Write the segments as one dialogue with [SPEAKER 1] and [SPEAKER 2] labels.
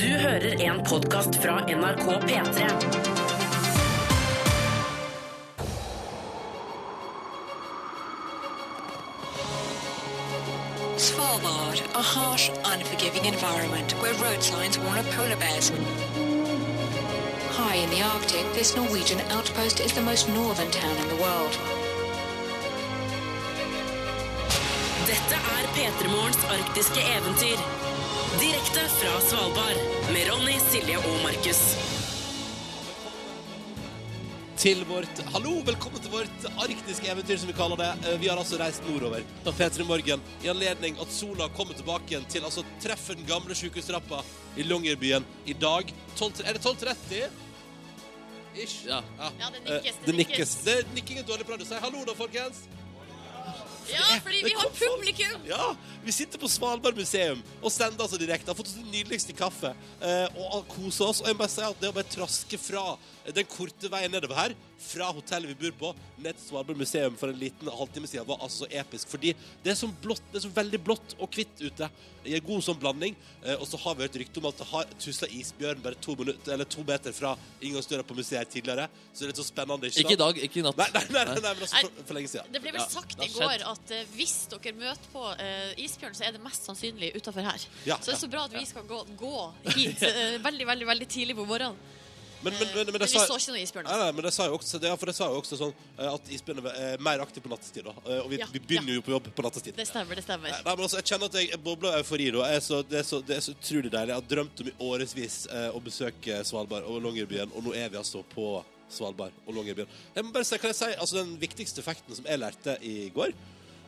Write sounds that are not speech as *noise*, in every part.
[SPEAKER 1] Du hører en podkast fra NRK P3.
[SPEAKER 2] Svalbard, a harsh, unforgiving environment where road signs warn of polar bears. High in the Arctic, this Norwegian outpost is the most northern town in the world.
[SPEAKER 1] Dette er P3 Morgens arktiske eventyr. Direkte fra Svalbard med Ronny, Silje og Markus.
[SPEAKER 3] til vårt Hallo, velkommen til vårt arktiske eventyr, som vi kaller det. Eh, Vi har altså reist nordover på P3 Morgen i anledning at sola kommer tilbake igjen til altså treffer den gamle sykehustrappa i Longyearbyen i dag. 12, er det 12.30? Ish. Ja,
[SPEAKER 4] Ja, det nikkes,
[SPEAKER 3] Eh,
[SPEAKER 4] det
[SPEAKER 3] Det nikkes. Det er nikking er dårlig radio. Si hallo, da, folkens.
[SPEAKER 4] Ja, fordi vi
[SPEAKER 3] Det
[SPEAKER 4] har
[SPEAKER 3] kom folk.
[SPEAKER 4] publikum!
[SPEAKER 3] Ja, vi sitter på Svalbard museum og sender altså direkte. Har fått oss den nydeligste kaffe eh, og har koset oss. Og jeg må bare si at det å bare traske fra den korte veien nedover her, fra hotellet vi bor på, ned til Svalbard museum for en liten halvtime siden, var altså episk. Fordi det er så blått, det er så veldig blått og hvitt ute. I en god sånn blanding. Eh, og så har vi hørt rykte om at det har tusla isbjørn bare to, minutter, eller to meter fra inngangsdøra på museet her tidligere. Så det er litt så spennende. Ikke,
[SPEAKER 5] Ikke i
[SPEAKER 3] sant?
[SPEAKER 5] dag, ikke i natt.
[SPEAKER 3] Nei, nei, nei, nei, nei, men altså,
[SPEAKER 4] Nei.
[SPEAKER 3] for, for lenge siden.
[SPEAKER 4] Det ble vel
[SPEAKER 5] Ja,
[SPEAKER 4] sagt
[SPEAKER 5] det
[SPEAKER 4] i
[SPEAKER 5] har
[SPEAKER 4] går
[SPEAKER 5] skjedd.
[SPEAKER 4] at eh, hvis dere møter på eh, isbjørn, så er det mest sannsynlig utafor her.
[SPEAKER 3] Ja,
[SPEAKER 4] så
[SPEAKER 3] ja,
[SPEAKER 4] det er så bra at vi skal gå, gå
[SPEAKER 5] *laughs*
[SPEAKER 4] hit eh, veldig, veldig veldig tidlig på morgenen.
[SPEAKER 3] Men, men, men, men,
[SPEAKER 4] Eh, Men
[SPEAKER 3] det
[SPEAKER 4] vi
[SPEAKER 3] sa-
[SPEAKER 4] så ikke noe isbjørn.
[SPEAKER 3] Nei,
[SPEAKER 4] Altså.
[SPEAKER 3] nei, men det sa jo også, det, for det sa jo også sånn eh, at isbjørnen er mer aktiv på nattetid. Da. Eh, Og vi,
[SPEAKER 4] Ja,
[SPEAKER 3] vi begynner jo på jobb på nattetid.
[SPEAKER 4] Det stemmer, det stemmer.
[SPEAKER 3] Nei, nei, men altså, Jeg kjenner at jeg bobler av eufori. Da. Jeg er så, det, er så, det er så utrolig deilig. Jeg har drømt om i årevis eh, å besøke Svalbard og Longyearbyen, og nå er vi altså på Svalbard og Longyearbyen. Jeg må bare si, kan jeg si altså, den viktigste fakten som jeg lærte i går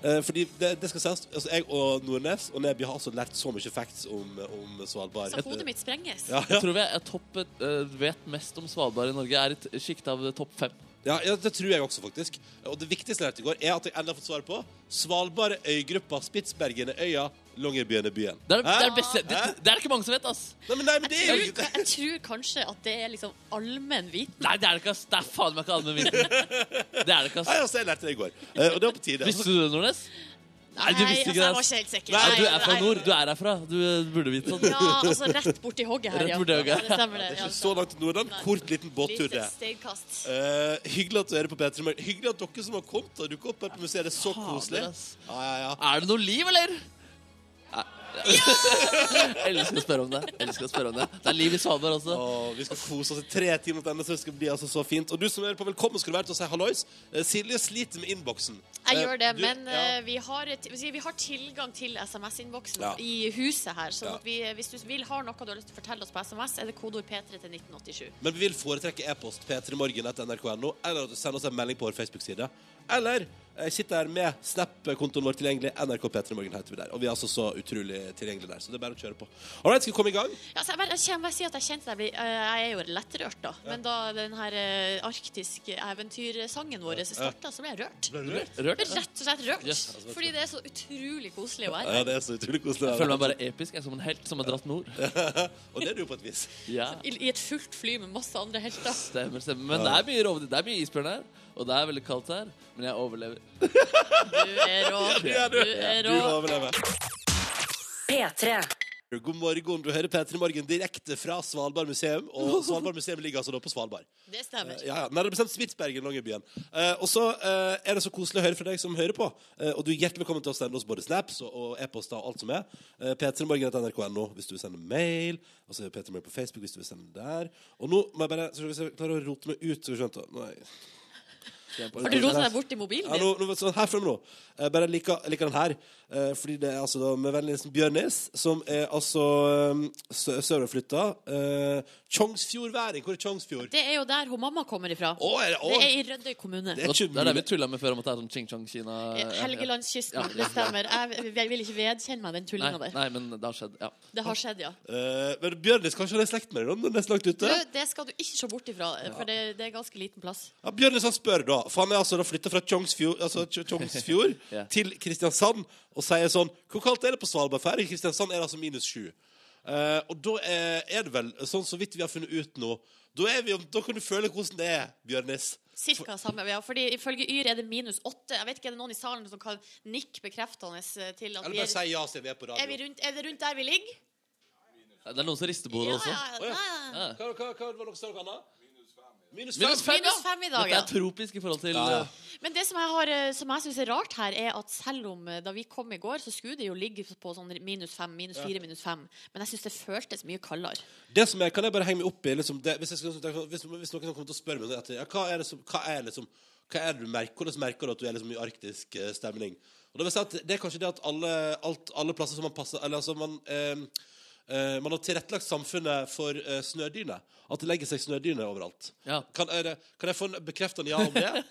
[SPEAKER 3] eh, fordi det, det skal sies, altså Jeg og Nordnes og Neby har altså lært så mye facts om, om Svalbard.
[SPEAKER 4] Så hodet mitt sprenges.
[SPEAKER 3] Ja, ja.
[SPEAKER 5] Jeg tror vi er topp, eh, vet mest om Svalbard i Norge, er et sjikt av topp fem.
[SPEAKER 3] Ja, ja, det tror jeg også, faktisk. Og det viktigste jeg lærte i går, er at jeg endelig har fått svar på Svalbard er øygruppa, Spitsbergen er øya, Longyearbyen er byen.
[SPEAKER 5] Det er det,
[SPEAKER 3] Hæ?
[SPEAKER 5] er det beste det, det er det ikke mange som vet, ass.
[SPEAKER 3] Nei, men, nei, men det er jo
[SPEAKER 4] Jeg
[SPEAKER 3] ikke
[SPEAKER 4] tror, jeg tror kanskje at det er liksom allmenn viten.
[SPEAKER 5] Nei, det er det ikke, ass. Det er faen meg ikke allmennviten. Det er det
[SPEAKER 3] Nei,
[SPEAKER 5] ikke, ass.
[SPEAKER 3] altså, jeg lærte det i går. Eh, Og det var på tide.
[SPEAKER 5] Visste du det, Nordnes? Nei, du visste
[SPEAKER 4] altså,
[SPEAKER 5] ikke det,
[SPEAKER 4] jeg var
[SPEAKER 5] ass.
[SPEAKER 4] ikke helt sikker.
[SPEAKER 5] Ja, du
[SPEAKER 4] Nei,
[SPEAKER 5] er fra
[SPEAKER 4] nei.
[SPEAKER 5] nord. Du er herfra. Du eh, burde vite sånn.
[SPEAKER 4] Ja, altså rett borti hogget her,
[SPEAKER 5] Rett borti hogget.
[SPEAKER 4] Det stemmer, det.
[SPEAKER 3] Det er
[SPEAKER 4] Ja,
[SPEAKER 3] ikke Altså, så langt til Nordland. Kort liten båttur, det.
[SPEAKER 4] Lite steinkast.
[SPEAKER 3] Eh, hyggelig at du er på P3 Morgen. Hyggelig at dere som har kommet og dukket opp her på museet. Det er så
[SPEAKER 5] Fader,
[SPEAKER 3] koselig.
[SPEAKER 5] ass.
[SPEAKER 3] Ja, ja, ja.
[SPEAKER 5] Er det noe liv, eller? Ja! *laughs* Jeg elsker å spørre om det. Jeg Elsker å spørre om Det Det er liv i Svalbard også.
[SPEAKER 3] Åh, vi skal kose oss i tre timer til enda, så det skal bli altså så fint. Og du som er på velkommen, skal du være til å si hallois. Eh, Silje sliter med innboksen.
[SPEAKER 4] Jeg
[SPEAKER 3] Eh,
[SPEAKER 4] gjør det,
[SPEAKER 3] du-
[SPEAKER 4] men
[SPEAKER 3] ja.
[SPEAKER 4] eh, vi, har, et- vi sier vi har tilgang til SMS-innboksen
[SPEAKER 3] Ja.
[SPEAKER 4] i huset her. Så
[SPEAKER 3] Ja.
[SPEAKER 4] at vi, eh, hvis du vil ha noe du har lyst til å fortelle oss på SMS, er det kodeord P3 til 1987.
[SPEAKER 3] Men vi vil foretrekke e-post p3morgen.nrk.no, eller at du sender oss en melding på vår Facebook-side. Eller eh, sitt der med Snap-kontoen vår tilgjengelig. NRK P3morgen heter vi der. Og vi er altså så utrolig tilgjengelige der, så det er bare å kjøre på. All right, skal vi komme i gang?
[SPEAKER 4] Ja, så jeg, bare, jeg, kjenner- bare si at jeg kjente at jeg, blir, eh, jeg er jo lettrørt, da. Men da den her eh, arktiske eventyrsangen vår starta, så ble jeg rørt. Jeg
[SPEAKER 5] Rørt?
[SPEAKER 4] ble rett og slett rørt.
[SPEAKER 5] Yes.
[SPEAKER 4] Fordi det er så utrolig koselig å være
[SPEAKER 3] Ja,
[SPEAKER 4] her.
[SPEAKER 3] det er så utrolig koselig.
[SPEAKER 5] Jeg føler meg bare episk. Jeg er som en helt som har dratt nord.
[SPEAKER 3] Og det er du jo på et vis.
[SPEAKER 5] Ja.
[SPEAKER 4] I, I et fullt fly med masse andre helter.
[SPEAKER 5] Stemmer, stemmer. Men det er mye rovdyr. Det er mye isbjørn her. Og det er veldig kaldt her. Men jeg overlever.
[SPEAKER 4] Du er rå. Du
[SPEAKER 3] Ja, du-
[SPEAKER 4] er
[SPEAKER 3] Du
[SPEAKER 4] rå.
[SPEAKER 3] må overleve.
[SPEAKER 1] P3.
[SPEAKER 3] God morgen, du hører P3 Morgen direkte fra Svalbard museum. Og Svalbard museum ligger altså da på Svalbard.
[SPEAKER 4] Det stemmer.
[SPEAKER 3] Eh, Ja, ja. Nærmere bestemt Spitsbergen, Longyearbyen. Eh, og så eh, er det så koselig å høre fra deg som hører på. Eh, og du er hjertelig velkommen til å sende oss både snaps og, og e-poster og alt som er. Eh, p3morgen.nrk.no hvis du vil sende mail. Og så er det P3 Morgen på Facebook hvis du vil sende der. Og nå må jeg bare så Hvis jeg klarer å rote meg ut, så skjønt da. Nei.
[SPEAKER 4] Har du rota deg bort i mobilen
[SPEAKER 3] Ja,
[SPEAKER 4] din?
[SPEAKER 3] nå, nå, sånn her fremme nå. Jeg bare liker, jeg liker den her. Eh, fordi det er altså da med vennligheten Bjørnis, som er altså um, sø søroverflytta. Eh, Tjongsfjordværing. Hvor er Tjongsfjord?
[SPEAKER 4] Det er jo der hun mamma kommer ifra.
[SPEAKER 3] Å, er det, å,
[SPEAKER 4] Det er i Rødøy kommune.
[SPEAKER 3] Det er ikke
[SPEAKER 5] Det er det vi
[SPEAKER 3] mulig.
[SPEAKER 5] tulla med før om at det er sånn Ching-Chong-Kina
[SPEAKER 4] Eh, Helgelandskysten,
[SPEAKER 5] Ja.
[SPEAKER 4] det stemmer. Jeg, jeg vil ikke vedkjenne meg den
[SPEAKER 5] Nei,
[SPEAKER 4] tullinga der.
[SPEAKER 5] nei, men det har skjedd. Ja.
[SPEAKER 4] Det har skjedd, ja.
[SPEAKER 3] Eh, men Bjørnis, kanskje han er i slekt med deg? da, når han er så langt
[SPEAKER 4] Du,
[SPEAKER 3] ute?
[SPEAKER 4] det skal du ikke se bort ifra, for det, det er ganske liten plass.
[SPEAKER 3] Ja, Bjørnis han spør, da. For han er altså da flytta fra Tjongsfjord, altså, Tj- Tjongsfjord
[SPEAKER 5] *laughs* Ja.
[SPEAKER 3] til Kristiansand og sier sånn Hvor kaldt er det på Svalbard? For her i Kristiansand er det altså minus sju. Eh, og da er, er det vel, sånn så vidt vi har funnet ut nå Da, er vi, om- da kan du føle hvordan det er, Bjørnis.
[SPEAKER 4] Cirka samme. Ja, fordi ifølge Yr er det minus åtte. Jeg vet ikke, Er det noen i salen som kan nikke bekreftende eh, til at
[SPEAKER 3] Eller
[SPEAKER 4] vi
[SPEAKER 3] bare
[SPEAKER 4] er,
[SPEAKER 3] si ja, siden vi er på
[SPEAKER 4] er, vi
[SPEAKER 3] radio.
[SPEAKER 4] rundt, er det rundt der vi ligger?
[SPEAKER 5] Det er noen som rister på hodet også.
[SPEAKER 4] ja,
[SPEAKER 3] Å, ja.
[SPEAKER 4] nei, nei.
[SPEAKER 5] Ja.
[SPEAKER 3] Hva, hva, hva var det dere sa, Anna? Minus fem.
[SPEAKER 5] Minus fem,
[SPEAKER 4] Minus fem i dag,
[SPEAKER 5] Dette
[SPEAKER 4] ja.
[SPEAKER 5] er tropisk i forhold til
[SPEAKER 3] Ja, ja.
[SPEAKER 5] eh,
[SPEAKER 4] Men det som jeg, har, eh, som jeg syns er rart her, er at selv om eh, da vi kom i går, så skulle det jo ligge på sånn minus fem, minus fire, minus fem. Men jeg syns det føltes mye kaldere.
[SPEAKER 3] Det som er, kan jeg bare henge meg opp i liksom, det, hvis, jeg skulle, tenke sånn- hvis, hvis noen kommer til å spørre meg etter, ja, hva, er det som, hva er liksom hva er det du merker, Hvordan merker du at du er liksom i arktisk eh, stemning? Og det, vil si at det er kanskje det at alle, alt, alle plasser som man passer Eller altså man, eh, eh, man har tilrettelagt samfunnet for eh, snødyne. At det legger seg snødyne overalt.
[SPEAKER 5] Ja.
[SPEAKER 3] Kan, er det, kan jeg få en bekreftende ja om det?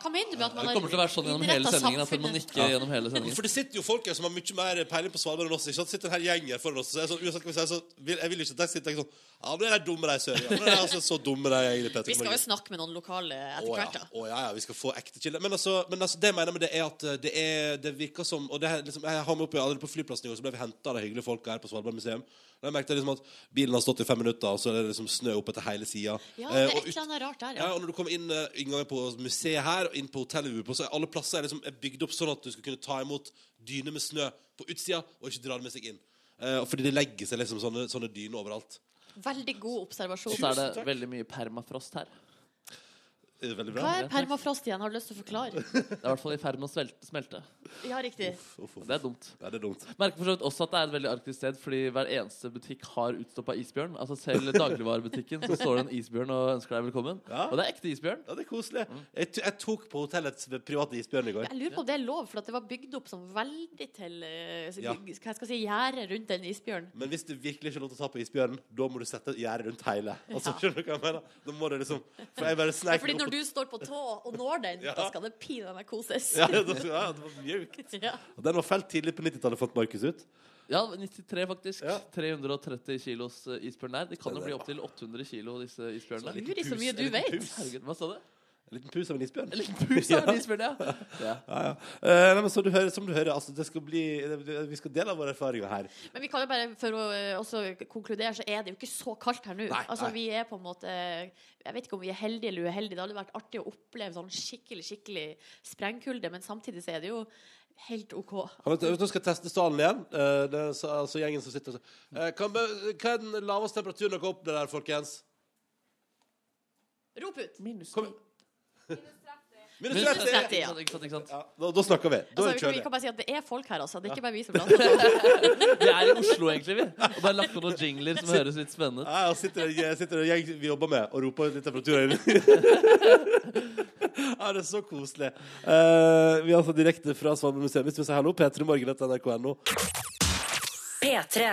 [SPEAKER 4] Hva mener du med at man
[SPEAKER 5] Det kommer til å være sånn gjennom hele
[SPEAKER 4] innrettet
[SPEAKER 5] sendingen. At man
[SPEAKER 4] samfunnet?
[SPEAKER 5] nikker gjennom hele sendingen.
[SPEAKER 3] For det sitter jo folk her som har mye mer peiling på Svalbard enn oss. Ikke sant? Det sitter en hel gjeng her foran oss. Så jeg, er sånn, uansett, hva vi sier, så vil, jeg vil ikke at de sitter og tenker sånn Ja, men det er de dumme, de sør. Ja, men det er altså så dumme, de egentlig, Petter
[SPEAKER 4] Vi skal
[SPEAKER 3] Morgen.
[SPEAKER 4] jo snakke med noen lokale
[SPEAKER 3] Å
[SPEAKER 4] etter hvert,
[SPEAKER 3] ja.
[SPEAKER 4] da.
[SPEAKER 3] å ja, ja, vi skal få ekte chille. Men altså, men altså det jeg mener med det er at eh, det, er, det virker som Og det er liksom, jeg har med opp i allerede på flyplassen i går, så ble vi henta av de hyggelige folka her på Svalbard museum. Da jeg merket liksom at bilen har stått i fem minutter, og så er det liksom snø opp etter hele sida.
[SPEAKER 4] Ja, det er et eller annet rart
[SPEAKER 3] Eh,
[SPEAKER 4] der,
[SPEAKER 3] Ja,
[SPEAKER 4] ja.
[SPEAKER 3] og når du kommer inn eh, inngangen på museet her og inn på hotellet vi bor på, så er alle plasser er liksom er bygd opp sånn at du skal kunne ta imot dyner med snø på utsida og ikke dra det med seg inn. Eh, og fordi det legger seg liksom sånne, sånne dyner overalt.
[SPEAKER 4] Veldig god
[SPEAKER 5] Og
[SPEAKER 4] observasjon.
[SPEAKER 5] så er det veldig mye permafrost her.
[SPEAKER 3] Eh, Veldig bra.
[SPEAKER 4] Hva er permafrost igjen? Har du lyst til å forklare?
[SPEAKER 3] *laughs*
[SPEAKER 5] Det er i hvert fall i ferd med å svelte- smelte.
[SPEAKER 4] Ja, riktig.
[SPEAKER 3] Uff, uff.
[SPEAKER 5] Det er dumt.
[SPEAKER 3] Ja, det er dumt.
[SPEAKER 5] Merker for så vidt også at det er et veldig arktisk sted, fordi hver eneste butikk har utstoppa isbjørn. Altså Selv dagligvarebutikken så står det en isbjørn og ønsker deg velkommen.
[SPEAKER 3] Ja.
[SPEAKER 5] Og det er ekte isbjørn.
[SPEAKER 3] Ja, det er koselig. Jeg, t jeg tok på hotellets private isbjørn i går.
[SPEAKER 4] Jeg lurer på om det er lov, for at det var bygd opp sånn veldig til eh,
[SPEAKER 3] Ja.
[SPEAKER 4] hva jeg skal si, gjerde rundt den isbjørnen.
[SPEAKER 3] Men hvis du virkelig ikke har lov til å ta på isbjørnen, da må du sette et gjerde rundt hele. Altså, skjønner du hva jeg mener? Da må du liksom For jeg bare sneik
[SPEAKER 4] Fordi
[SPEAKER 3] meg
[SPEAKER 4] når
[SPEAKER 3] opp
[SPEAKER 4] du står på tå og når den,
[SPEAKER 3] Ja.
[SPEAKER 4] da skal det pinadø meg koses.
[SPEAKER 3] ja, ja, det ja, det var mjukt.
[SPEAKER 4] *laughs* Ja.
[SPEAKER 3] Og Den var felt tidlig på 90-tallet, fant Markus ut.
[SPEAKER 5] Ja, 93 faktisk.
[SPEAKER 3] Ja.
[SPEAKER 5] 330 kilos eh, isbjørn der. De kan
[SPEAKER 3] Det
[SPEAKER 5] jo
[SPEAKER 3] er
[SPEAKER 5] bli
[SPEAKER 3] bra.
[SPEAKER 5] opptil 800 kilo, disse isbjørnene.
[SPEAKER 4] Guri, så
[SPEAKER 3] pus,
[SPEAKER 4] mye
[SPEAKER 3] en
[SPEAKER 4] du
[SPEAKER 3] liten
[SPEAKER 4] vet.
[SPEAKER 3] pus.
[SPEAKER 5] Herregud, hva sa du?
[SPEAKER 3] En liten pus av en isbjørn.
[SPEAKER 5] En
[SPEAKER 3] *laughs*
[SPEAKER 5] liten pus av en isbjørn, ja. ja.
[SPEAKER 3] Ja, ja. Eh, nei, men så du hører, som du hører, altså, det skal bli, det- vi skal dele av våre erfaringer her.
[SPEAKER 4] Men vi kan jo bare, for å eh, også konkludere, så er det jo ikke så kaldt her nå.
[SPEAKER 3] Nei,
[SPEAKER 4] altså,
[SPEAKER 3] nei.
[SPEAKER 4] vi er på en måte Jeg vet ikke om vi er heldige eller uheldige. Det hadde vært artig å oppleve sånn skikkelig, skikkelig sprengkulde, men samtidig så er det jo helt OK.
[SPEAKER 3] Ja, men eh, Nå skal jeg teste salen igjen. Eh, det er så, altså gjengen som sitter og så- Eh, kan, be- Hva er den laveste temperaturen dere har opplevd der, folkens?
[SPEAKER 4] Rop ut!
[SPEAKER 3] Kom. Minus 30.
[SPEAKER 4] Minus 30.
[SPEAKER 5] Ikke
[SPEAKER 4] ja.
[SPEAKER 5] sant, ikke sant, ikke sant.
[SPEAKER 3] Ja, da, da snakker vi. Da er
[SPEAKER 4] Altså, vi,
[SPEAKER 3] vi
[SPEAKER 4] kan, vi
[SPEAKER 3] kjølige.
[SPEAKER 4] kan bare si at det er folk her, altså. Det er ikke bare vi som
[SPEAKER 3] *laughs*
[SPEAKER 4] blander.
[SPEAKER 5] Vi er i Oslo, egentlig, vi. Og bare lagt på noen jingler som høres litt spennende ut.
[SPEAKER 3] Ja, ja, sitter det sitter det en gjeng vi jobber med, og roper litt
[SPEAKER 4] *laughs*
[SPEAKER 3] temperaturer inn. ja, det er så koselig. Eh, vi er altså direkte fra Svalbard museum. Hvis du vil si hallo, p3morgen.nrk.no.
[SPEAKER 1] P3.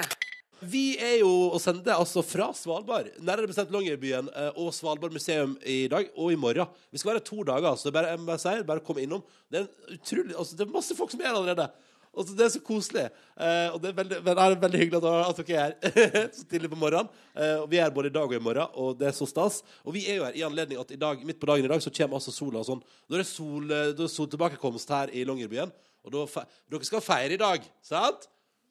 [SPEAKER 3] Vi er jo og sender altså fra Svalbard, nærmere bestemt Longyearbyen eh, og Svalbard museum i dag og i morgen. Vi skal være to dager, altså. Det er Bare, jeg må si, bare kom innom. Det er, en utrolig, altså, det er masse folk som er her allerede. Altså, det er så koselig. Eh, og det er veldig, men det er veldig hyggelig at, at dere er her *laughs* så tidlig på morgenen. Eh, og vi er her både i dag og i morgen, og det er så stas. Og vi er jo her i anledning at i dag, midt på dagen i dag så kommer altså sola og sånn. Da er det sol, eh, da er soltilbakekomst her i Longyearbyen. Og da, fe- dere skal feire i dag, sant?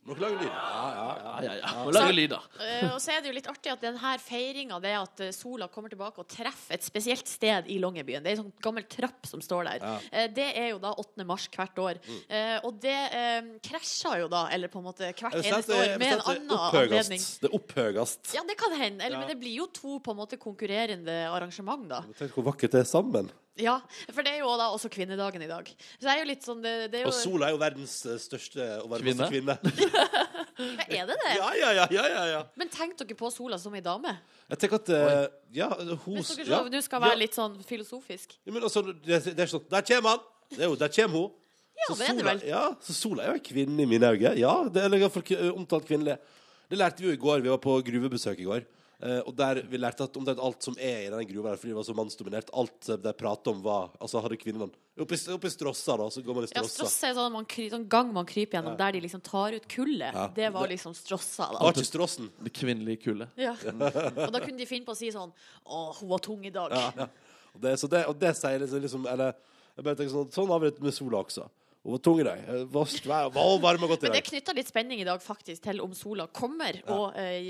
[SPEAKER 3] Må dere lage lyd? Ja, ja, ja.
[SPEAKER 5] Ja, ja, ja. Må lage lyd, da.
[SPEAKER 4] Eh, og så er det jo litt artig at denne feiringa, det at eh, sola kommer tilbake og treffer et spesielt sted i Longyearbyen. Det er en sånn gammel trapp som står der. Eh, det er jo da 8. mars hvert år.
[SPEAKER 3] Mm.
[SPEAKER 4] Eh, og det eh, krasjer jo da, eller på en måte hvert
[SPEAKER 3] Jeg vil si at
[SPEAKER 4] eneste
[SPEAKER 3] det-
[SPEAKER 4] år, med
[SPEAKER 3] jeg
[SPEAKER 4] en
[SPEAKER 3] vil si at det
[SPEAKER 4] annen
[SPEAKER 3] opphøyest.
[SPEAKER 4] anledning.
[SPEAKER 3] Det er opphøyest.
[SPEAKER 4] Ja, det kan hende. Eller,
[SPEAKER 3] Ja. Mm.
[SPEAKER 4] Men det blir jo to på en måte konkurrerende arrangement, da.
[SPEAKER 3] Tenk hvor vakkert det er sammen.
[SPEAKER 4] Ja, For det er jo da også kvinnedagen i dag. Så det er jo litt sånn det, det er
[SPEAKER 3] Og
[SPEAKER 4] jo,
[SPEAKER 3] Sola er jo verdens eh, største og varmeste kvinne.
[SPEAKER 5] Kvinne.
[SPEAKER 4] *laughs* Ja, Er det det?
[SPEAKER 3] Ja, ja, ja, ja, ja, ja.
[SPEAKER 4] Men tenk dere på sola som ei dame.
[SPEAKER 3] Jeg tenker at eh, Ja, hun
[SPEAKER 4] Hvis dere
[SPEAKER 3] ja.
[SPEAKER 4] så- nå skal
[SPEAKER 3] Ja.
[SPEAKER 4] være litt sånn filosofisk.
[SPEAKER 3] Ja, men altså, det, det er sånn Der kommer han! Det er jo, der kommer hun.
[SPEAKER 4] Ja, det er det
[SPEAKER 3] sola,
[SPEAKER 4] vel.
[SPEAKER 3] ja, så sola er jo en kvinne i mine øyne. Ja, det er i hvert fall k- omtalt kvinnelig. Det lærte vi jo i går. Vi var på gruvebesøk i går. eh, og der vi lærte at omtrent alt som er i denne gruva, her, fordi det var så mannsdominert Alt eh, de pratet om, var Altså, hadde kvinnene Oppe i, oppe i Strossa, da, så går man i
[SPEAKER 4] Ja,
[SPEAKER 3] Strossa.
[SPEAKER 4] strossa er sånn, man kry, sånn gang man kryper gjennom der de liksom tar ut kullet.
[SPEAKER 3] Ja.
[SPEAKER 4] Det var liksom strossa,
[SPEAKER 3] Det
[SPEAKER 4] da.
[SPEAKER 3] var ikke Strossen.
[SPEAKER 5] Det kvinnelige kullet.
[SPEAKER 4] Ja. Og da kunne de finne på å si sånn Å, hun var tung i dag.
[SPEAKER 3] Ja. Og det, så det, og det sier liksom, liksom Eller jeg bare tenker sånn Sånn har vi det med sola også. Hun var tung i dag. Eh, Var svær, var varm og godt i
[SPEAKER 4] Men det
[SPEAKER 3] dag.
[SPEAKER 4] knytter litt spenning i dag faktisk til om sola kommer og eh,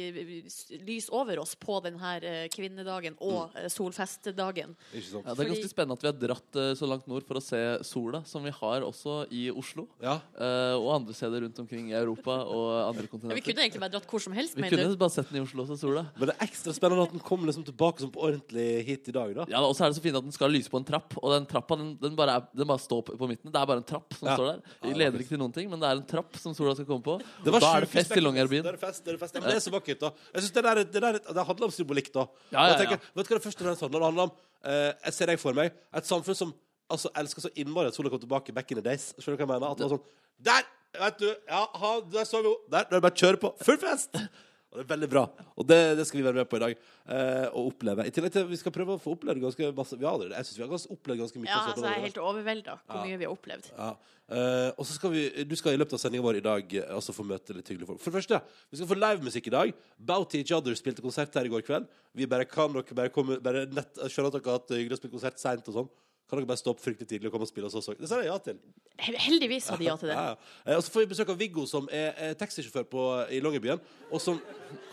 [SPEAKER 4] lys over oss på denne kvinnedagen
[SPEAKER 3] Mm.
[SPEAKER 4] og eh, solfestdagen.
[SPEAKER 3] Ikke sant?
[SPEAKER 5] Ja, det er
[SPEAKER 4] Fordi-
[SPEAKER 5] ganske spennende at vi har dratt eh, så langt nord for å se sola, som vi har også i Oslo.
[SPEAKER 3] Ja.
[SPEAKER 5] eh, og andre steder rundt omkring i Europa og andre kontinenter.
[SPEAKER 4] Vi kunne egentlig bare dratt hvor som helst,
[SPEAKER 5] Vi
[SPEAKER 4] mener
[SPEAKER 5] kunne
[SPEAKER 4] du?
[SPEAKER 5] bare sett den i Oslo og se sola.
[SPEAKER 3] Men det er ekstra spennende at den kom liksom tilbake som på ordentlig hit i dag, da.
[SPEAKER 5] Ja, Og så er det så fint at den skal lyse på en trapp. Og den trappa den, den bare, er, den bare står på, på midten. Det er bare en trapp som
[SPEAKER 3] Ja.
[SPEAKER 5] står der.
[SPEAKER 3] Ja, det
[SPEAKER 5] Det
[SPEAKER 3] var
[SPEAKER 5] leder ikke til noen ting, men det er en trapp som sola skal komme på.
[SPEAKER 3] Det
[SPEAKER 5] Og
[SPEAKER 3] var
[SPEAKER 5] da er det
[SPEAKER 3] sjukt
[SPEAKER 5] fest i
[SPEAKER 3] spektakulært. *laughs*
[SPEAKER 5] Longyearbyen.
[SPEAKER 3] Da er det fest, da er det fest. Ja, men det er så vakkert, da. Jeg synes det, der, det, der, det handler om symbolikk, da.
[SPEAKER 5] Ja,
[SPEAKER 3] Og
[SPEAKER 5] ja,
[SPEAKER 3] jeg
[SPEAKER 5] ja.
[SPEAKER 3] tenker, Vet du hva det først og fremst handler om? Det handler om eh, Jeg ser deg for meg. Et samfunn som altså, elsker så innmari at sola kom tilbake back in the days. Skjønner du hva jeg mener? At det var sånn Der! Vet du. Ja, ha, der så vi henne. Der. Da er det bare å kjøre på. Full fest! *laughs* Og det er veldig bra. Og det, det skal vi være med på i dag. eh, og oppleve. I tillegg til vi skal prøve å få oppleve ganske masse Vi har allerede Jeg synes vi har ganske, opplevd ganske mye.
[SPEAKER 4] Ja,
[SPEAKER 3] av sånt
[SPEAKER 4] altså, jeg er
[SPEAKER 3] allerede.
[SPEAKER 4] helt overvelda hvor mye vi har opplevd.
[SPEAKER 3] Ja. Eh, og så skal vi, Du skal i løpet av sendinga vår i dag eh, altså få møte litt hyggelige folk. For det første, Vi skal få livemusikk i dag. Bouty Each Other spilte konsert her i går kveld. Vi bare Kan dere bare komme bare nett, jeg Skjønner at dere har hatt det hyggelig å spille konsert seint og sånn. Kan dere bare stoppe fryktelig tidlig og komme og spille oss også? Det sa jeg ja til.
[SPEAKER 4] Hel- Heldigvis sa de ja til det.
[SPEAKER 3] Ja, ja. Eh, Og så får vi besøk av Viggo, som er eh, taxisjåfør på, i Longyearbyen. Og som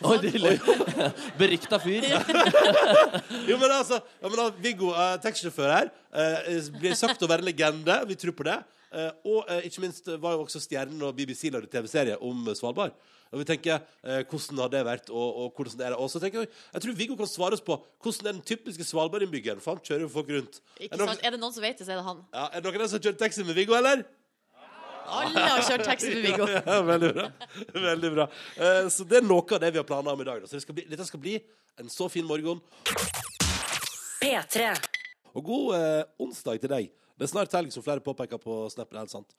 [SPEAKER 5] Oi, det er ille. Berikta fyr.
[SPEAKER 3] Jo, men altså, ja, men da, Viggo, eh, taxisjåfør her, eh, blir sagt å være legende. Vi tror på det. Eh, og eh, ikke minst var jo også stjernen og BBC lagde TV-serie om eh, Svalbard. Og vi tenker eh, hvordan har det vært, og, og hvordan er det? Og så tenker jeg jeg tror Viggo kan svare oss på hvordan er den typiske Svalbard-innbyggeren For han kjører jo folk rundt. Er
[SPEAKER 4] Ikke
[SPEAKER 3] det noen-
[SPEAKER 4] sant? Er det noen som vet det, så er det han.
[SPEAKER 3] Ja, er det noen av dere som har kjørt taxi med Viggo, eller?
[SPEAKER 4] Alle har kjørt taxi med Viggo.
[SPEAKER 3] *laughs* Ja, ja, veldig bra. Veldig bra. Eh, så det er noe av det vi har planer om i dag. Da. Så det skal bli, dette skal bli en så fin morgen.
[SPEAKER 1] P3.
[SPEAKER 3] Og god eh, onsdag til deg. Det er snart helg, som flere påpeker på Snap. Det er helt sant.